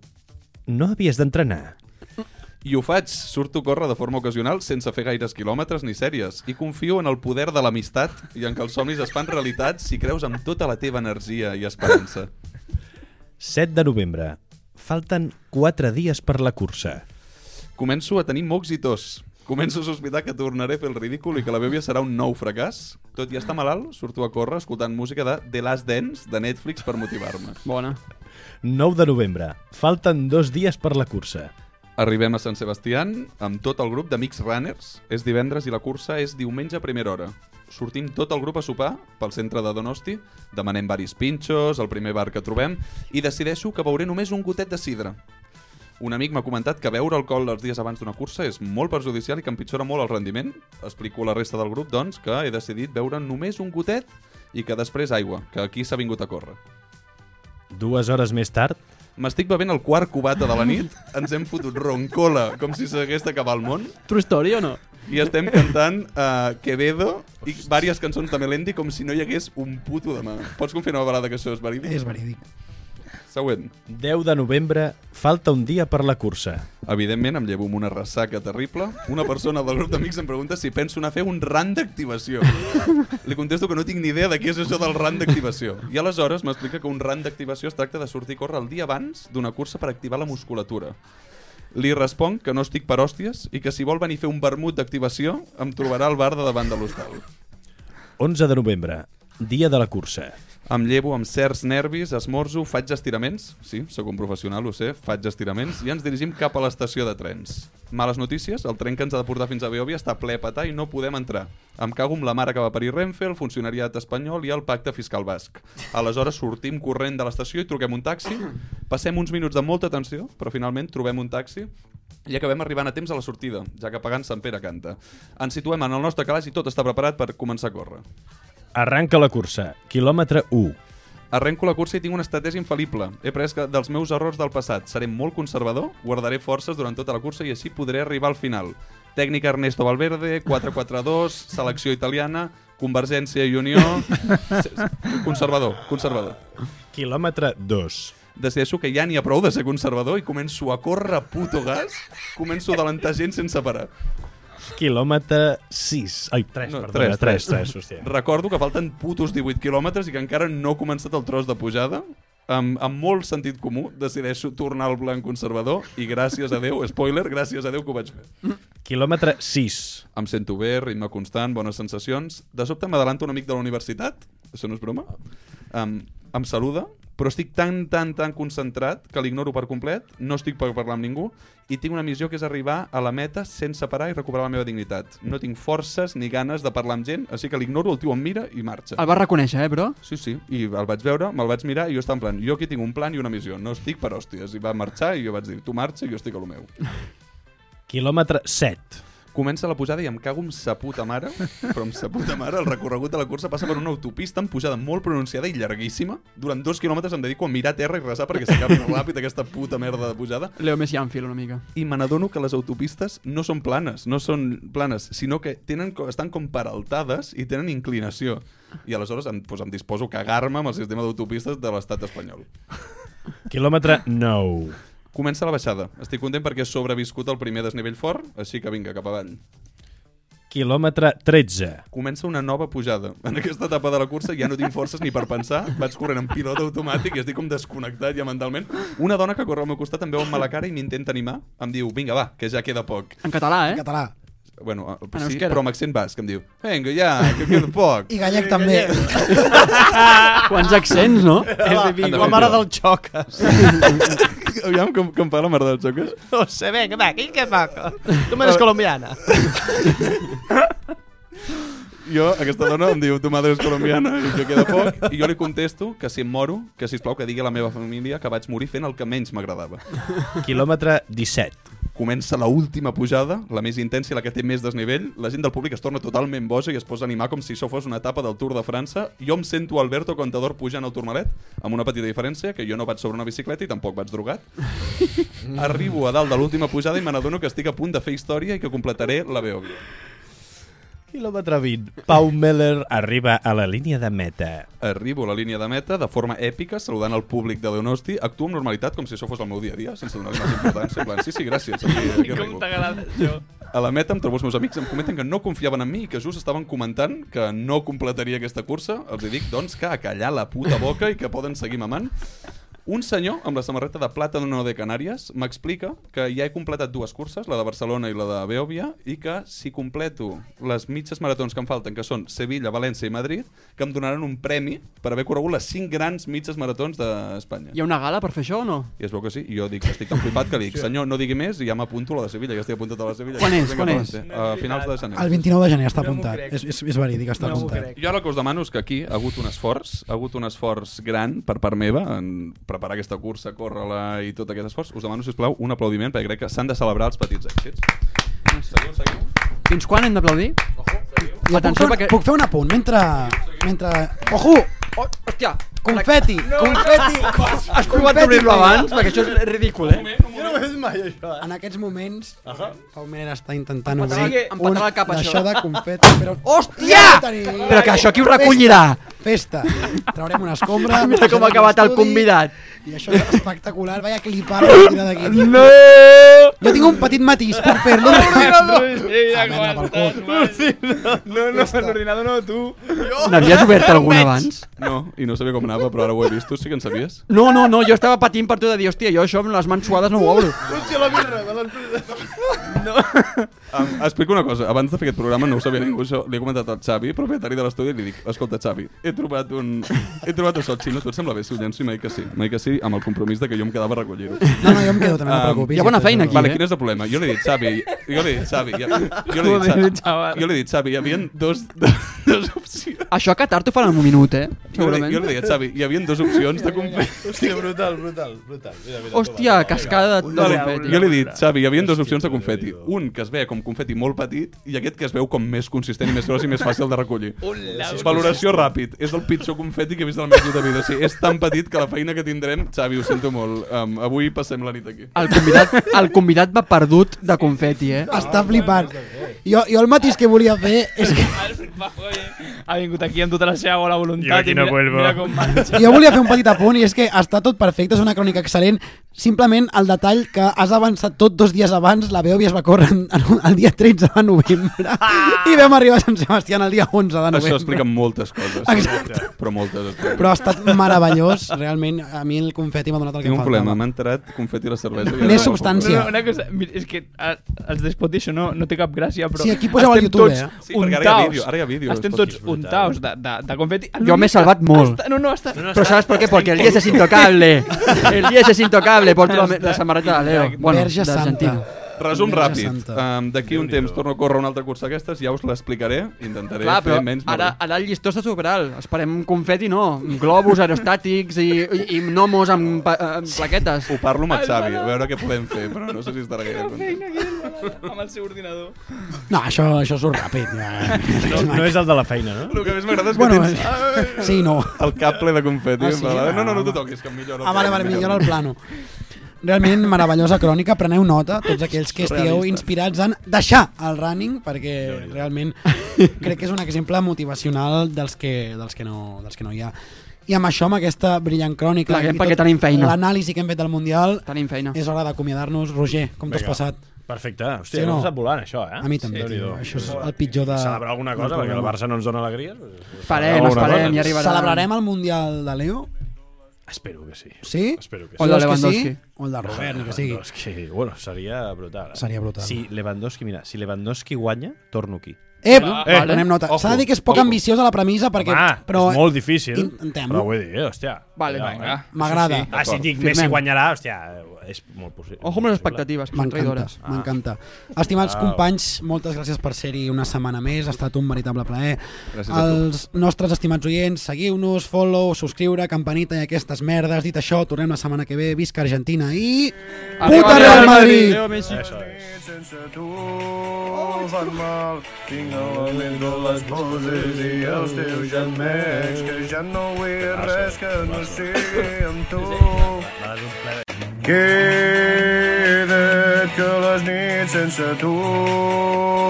no havies d'entrenar.
I ho faig, surto a córrer de forma ocasional sense fer gaires quilòmetres ni sèries i confio en el poder de l'amistat i en que els somnis es fan realitat si creus amb tota la teva energia i esperança.
7 de novembre. Falten 4 dies per la cursa.
Començo a tenir mocs i tos. Començo a sospitar que tornaré a fer el ridícul i que la bèbia serà un nou fracàs. Tot i estar malalt, surto a córrer escoltant música de The Last Dance de Netflix per motivar-me.
Bona.
9 de novembre. Falten dos dies per la cursa.
Arribem a Sant Sebastián amb tot el grup d'amics runners. És divendres i la cursa és diumenge a primera hora. Sortim tot el grup a sopar pel centre de Donosti, demanem varis pinxos, el primer bar que trobem, i decideixo que beuré només un gotet de sidra. Un amic m'ha comentat que beure alcohol els dies abans d'una cursa és molt perjudicial i que empitjora molt el rendiment. Explico a la resta del grup, doncs, que he decidit beure només un gotet i que després aigua, que aquí s'ha vingut a córrer.
Dues hores més tard...
M'estic bevent el quart cubata de la nit, ens hem fotut roncola com si s'hagués d'acabar el món.
True story o no?
I estem cantant uh, Quevedo i diverses cançons de Melendi com si no hi hagués un puto demà. Pots confirmar una vegada que això és verídic?
És verídic.
Següent.
10 de novembre. Falta un dia per la cursa.
Evidentment, em llevo amb una ressaca terrible. Una persona del grup d'amics em pregunta si penso anar a fer un ran d'activació. Li contesto que no tinc ni idea de què és això del ran d'activació. I aleshores m'explica que un ran d'activació es tracta de sortir a córrer el dia abans d'una cursa per activar la musculatura. Li responc que no estic per hòsties i que si vol venir a fer un vermut d'activació em trobarà al bar de davant de l'hostal.
11 de novembre. Dia de la cursa.
Em llevo amb certs nervis, esmorzo, faig estiraments, sí, sóc un professional, ho sé, faig estiraments, i ens dirigim cap a l'estació de trens. Males notícies, el tren que ens ha de portar fins a Beòvia està ple a petar i no podem entrar. Em cago amb la mare que va parir Renfe, el funcionariat espanyol i el pacte fiscal basc. Aleshores sortim corrent de l'estació i truquem un taxi, passem uns minuts de molta tensió, però finalment trobem un taxi i acabem arribant a temps a la sortida, ja que pagant Sant Pere canta. Ens situem en el nostre calaix i tot està preparat per començar a córrer.
Arranca la cursa. Kilòmetre 1.
Arrenco la cursa i tinc una estratègia infal·lible. He pres que dels meus errors del passat. Seré molt conservador, guardaré forces durant tota la cursa i així podré arribar al final. Tècnica Ernesto Valverde, 4-4-2, selecció italiana, Convergència i Unió... Conservador, conservador.
Kilòmetre 2.
Decideixo que ja n'hi ha prou de ser conservador i començo a córrer a puto gas, començo a adelantar gent sense parar.
Kilòmetre 6. Ai, 3, no, perdona, 3, 3, 3, 3 hòstia.
Recordo que falten putos 18 quilòmetres i que encara no he començat el tros de pujada. Amb, amb molt sentit comú, decideixo tornar al blanc conservador i gràcies a Déu, spoiler, gràcies a Déu que ho vaig fer.
Kilòmetre 6.
Em sento bé, ritme constant, bones sensacions. De sobte m'adelanto un amic de la universitat, això no és broma, um, em saluda, però estic tan, tan, tan concentrat que l'ignoro per complet, no estic per parlar amb ningú i tinc una missió que és arribar a la meta sense parar i recuperar la meva dignitat. No tinc forces ni ganes de parlar amb gent, així que l'ignoro, el tio em mira i marxa.
El vas reconèixer, eh, però?
Sí, sí, i el vaig veure, me'l vaig mirar i jo estava en plan, jo aquí tinc un plan i una missió, no estic per hòsties. I va marxar i jo vaig dir, tu marxa i jo estic a lo meu.
Kilòmetre 7
comença la pujada i em cago amb sa puta mare, però amb sa puta mare el recorregut de la cursa passa per una autopista amb pujada molt pronunciada i llarguíssima. Durant dos quilòmetres em dedico a mirar a terra i resar perquè s'acabi ràpid aquesta puta merda de pujada.
Leo Messi Anfield una mica.
I me n'adono que les autopistes no són planes, no són planes, sinó que tenen, estan com peraltades i tenen inclinació. I aleshores em, doncs, em disposo a cagar-me amb el sistema d'autopistes de l'estat espanyol.
Quilòmetre 9.
Comença la baixada. Estic content perquè he sobreviscut al primer desnivell fort, així que vinga, cap avall.
Kilòmetre 13.
Comença una nova pujada. En aquesta etapa de la cursa ja no tinc forces ni per pensar. Vaig corrent en pilot automàtic i estic com desconnectat ja mentalment. Una dona que corre al meu costat em veu amb mala cara i m'intenta animar. Em diu, vinga, va, que ja queda poc.
En català, eh?
En català.
Bueno, el, sí, però amb accent basc, em dieu Vinga, ja, que queda poc.
I gallec també.
Quants accents, no?
La, Ah, la mare del xoques.
Aviam com, com parla mare del xoques.
No sé, vinga, va, que queda poc. Tu eres colombiana.
Jo, aquesta dona em diu, tu madre és colombiana, i jo queda poc, i jo li contesto que si em moro, que si plau que digui a la meva família que vaig morir fent el que menys m'agradava.
Kilòmetre 17
comença la última pujada, la més intensa i la que té més desnivell, la gent del públic es torna totalment boja i es posa a animar com si això fos una etapa del Tour de França. Jo em sento Alberto Contador pujant al Tourmalet, amb una petita diferència, que jo no vaig sobre una bicicleta i tampoc vaig drogat. Arribo a dalt de l'última pujada i me n'adono que estic a punt de fer història i que completaré la Beòvia.
Quilòmetre 20. Pau Meller arriba a la línia de meta.
Arribo a la línia de meta de forma èpica, saludant el públic de Donosti, actuo amb normalitat com si això fos el meu dia a dia, sense donar-li més importància. En plan, sí, sí, gràcies. Aquí, aquí
Com
arribo.
t'agrada això?
A la meta em trobo els meus amics, em comenten que no confiaven en mi i que just estaven comentant que no completaria aquesta cursa. Els hi dic, doncs, que a callar la puta boca i que poden seguir mamant. Un senyor amb la samarreta de plàtano de Canàries m'explica que ja he completat dues curses, la de Barcelona i la de Beòvia, i que si completo les mitges maratons que em falten, que són Sevilla, València i Madrid, que em donaran un premi per haver corregut les cinc grans mitges maratons d'Espanya.
Hi ha una gala per fer això o no?
I es veu que sí, i jo dic, estic tan flipat que li dic, senyor, no digui més, i ja m'apunto a la de Sevilla, ja estic apuntat a la de Sevilla.
Quan
Ja
és,
estic
quan
acabat, eh?
és?
A finals de gener.
El 29 de gener està apuntat. és, és, és verídic, està apuntat.
Jo ara el que us demano és que aquí ha hagut un esforç, ha hagut un esforç gran per part meva en preparar aquesta cursa, córrer-la i tot aquest esforç. Us demano, si plau, un aplaudiment, perquè crec que s'han de celebrar els petits èxits. Seguiu, seguiu.
Fins quan hem d'aplaudir?
Jo puc, fer,
Atenció,
perquè...
perquè...
puc fer un apunt mentre... mentre... Ojo!
Oh, hòstia!
Confeti!
No,
confeti!
no, no. Has provat d'obrir-lo abans? Perquè això és ridícul, eh?
Jo no ho he fet mai, això. En aquests moments, Pau Miner està intentant
Em patarà-
obrir
em patarà la capa, això.
d'això de confeti, però...
Hòstia! Però que això qui ho recollirà?
Festa! Festa. Traurem una escombra...
Mira com ha acabat el
l'estudi,
convidat.
I això és espectacular, vaya clipar la tira d'aquí.
No!
Jo tinc un petit matís per fer-lo.
No, no, l'ordinador no, tu.
N'havies obert algun abans?
No, i no sabia com anava, però ara ho he vist. Tu sí que en sabies?
No, no, no, jo estava patint per tu de dir, hòstia, jo això amb les mans suades no ho obro.
Hòstia, la birra de l'empresa.
Um, explico una cosa. Abans de fer aquest programa no ho sabia ningú, això. Li he comentat al Xavi, propietari de l'estudi, i li dic, escolta, Xavi, he trobat un... He trobat això, Xino, tu et sembla bé si ho llenço? I m'ha dit que sí. M'ha dit que sí, amb el compromís de que jo em quedava a recollir-ho.
No, no, jo em quedo, també,
Ah,
no et preocupis. Hi ha bona feina aquí,
Vale,
eh?
quin és el problema? Jo li he dit, Xavi, jo li he dit, Xavi, ja, jo li he
Tu ho has dit,
dit, Xavi, jo li he dit, Xavi, hi havia dos, dos opcions.
Això a Qatar t'ho faran en un minut, eh?
Jo li,
Segurament.
jo li deia, Xavi, hi havia dues opcions de confeti.
Hòstia, brutal, brutal, brutal. Mira, mira,
Hòstia, cascada de
Vale,
confeti.
jo li he dit, Xavi, hi havia dues opcions de confeti. Un que es veia com confeti molt petit i aquest que es veu com més consistent i més gros i més fàcil de recollir.
Hola,
Valoració ràpid. És el pitjor confeti que he vist de la meva puta vida. O sigui, és tan petit que la feina que tindrem... Xavi, ho sento molt. Um, avui passem la nit aquí.
El convidat, el convidat va perdut de confeti, eh?
Està flipant. Jo, jo el matís que volia fer és que...
Ha vingut aquí amb tota la seva bona voluntat.
Jo aquí
i
no
mira,
vuelvo.
Mira com marxa.
Jo volia fer un petit apunt i és que està tot perfecte, és una crònica excel·lent. Simplement el detall que has avançat tot dos dies abans, la Beòvia es va córrer en- en un- el dia 13 de novembre i vam arribar a Sant Sebastià el dia 11 de novembre.
Això explica moltes coses.
Ah, Exacte.
Però moltes. Exacte.
Però ha estat meravellós, realment. A mi el confeti m'ha donat el que
Tinc un
em
problema,
faltava.
m'ha entrat confeti a la cervesa. i
Més
ara no la puc
substància.
beure.
Una cosa, mira, és que eh, els despot això no, no té cap gràcia, però...
Sí, aquí poseu al
estem
YouTube,
tots
eh?
Sí, perquè ara hi ha
untaos.
vídeo, ara hi ha vídeo,
Estem
es pot
tots untaus de, de, de confeti.
Jo m'he salvat molt.
Està, no, no, està...
Però saps per què? Perquè el 10 és intocable. El 10 és intocable. Porto la, la samarreta de Leo. Bueno,
Verge Santa.
d'Argentina.
Resum
Verge
ràpid.
Santa.
Um, D'aquí un temps torno a córrer una altra cursa d'aquestes, ja us l'explicaré. Intentaré
Clar, però
fer menys...
ara, ara el llistó està super alt. Esperem confeti, no. Globus aerostàtics i, i, i gnomos amb, pa- amb plaquetes.
Ho parlo amb el Xavi, a veure què podem fer, però no sé si estarà gaire content.
Amb el seu ordinador.
No, això, això surt ràpid. Ja.
No, no és el de la feina, no?
El que més m'agrada és que
Bueno,
tens...
sí, no.
El cap ple de confeti.
Ah,
Ah,
sí?
sí? No, no, no t'ho toquis, que em millora. el
Ah, vale,
plano,
vale, millora el plano. Realment meravellosa crònica, preneu nota, tots aquells que estigueu
Surrealistes.
inspirats en deixar el running, perquè realment crec que és un exemple motivacional dels que, dels que, no, dels que no hi ha. I amb això, amb aquesta brillant crònica,
Pleguem
i
perquè
tot
tenim feina.
l'anàlisi que hem fet del Mundial,
Tenim feina.
és hora d'acomiadar-nos. Roger, com t'has
Vinga.
passat?
Perfecte.
Sí
Hòstia,
o no?
no? s'ha volant, això, eh?
A mi també,
Déu-n'hi-do.
tio. Això és el pitjor de-
Celebrar alguna
del
cosa, perquè el
programa.
Barça no ens dona alegries. doncs,
Esperem,
alguna
esperem,
cosa.
ja arribarà.
Celebrarem el Mundial de Leo?
Espero que sí.
Sí?
Espero que sí.
O el de
Vols que sí?
Lewandowski.
O el de Robert, ni que sigui.
Lewandowski, bueno, seria brutal. Eh?
Seria brutal.
Si Lewandowski, mira, si Lewandowski guanya, torno aquí.
Ep,
Eh,
eh, prenem nota.
ojo,
S'ha de dir que és poc
ojo.
ambiciosa la premissa perquè...
Home,
però
és molt difícil,
intentem-ho.
però vull dir, hòstia.
Vale,
cuidao,
vinga.
eh?
M'agrada.
Ah, si dic
Firmem.
Messi guanyarà, hòstia, és molt possi- possible.
Ojo amb les expectatives, que són
M'encanta,
traïdores.
m'encanta. Estimats
Au.
companys, moltes gràcies per ser-hi una setmana més, ha estat un veritable plaer.
Gràcies a tu.
Els nostres estimats oients, seguiu-nos, follow, subscriure, campanita i aquestes merdes. Dit això, tornem la setmana que ve, visca Argentina i...
Arriba,
Puta
arriba,
Real
arriba,
Madrid!
Leo Messi.
Això és.
sense tu fanmal tinc a la ment de les poses i els teus gemecs que ja no vull res que no sigui amb tu queda't que les nits
i sense tu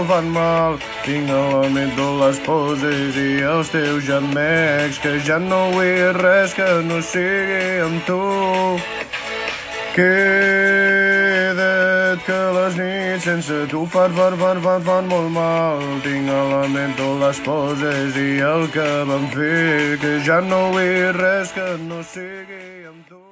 fan mal. Tinc element de les poses i els teus gemecs, que ja no vull res que no sigui amb tu. Queda't que les nits sense tu fan, fan, fan, fan, fan molt mal. Tinc element de les poses i el que vam fer, que ja no vull res que no sigui amb tu.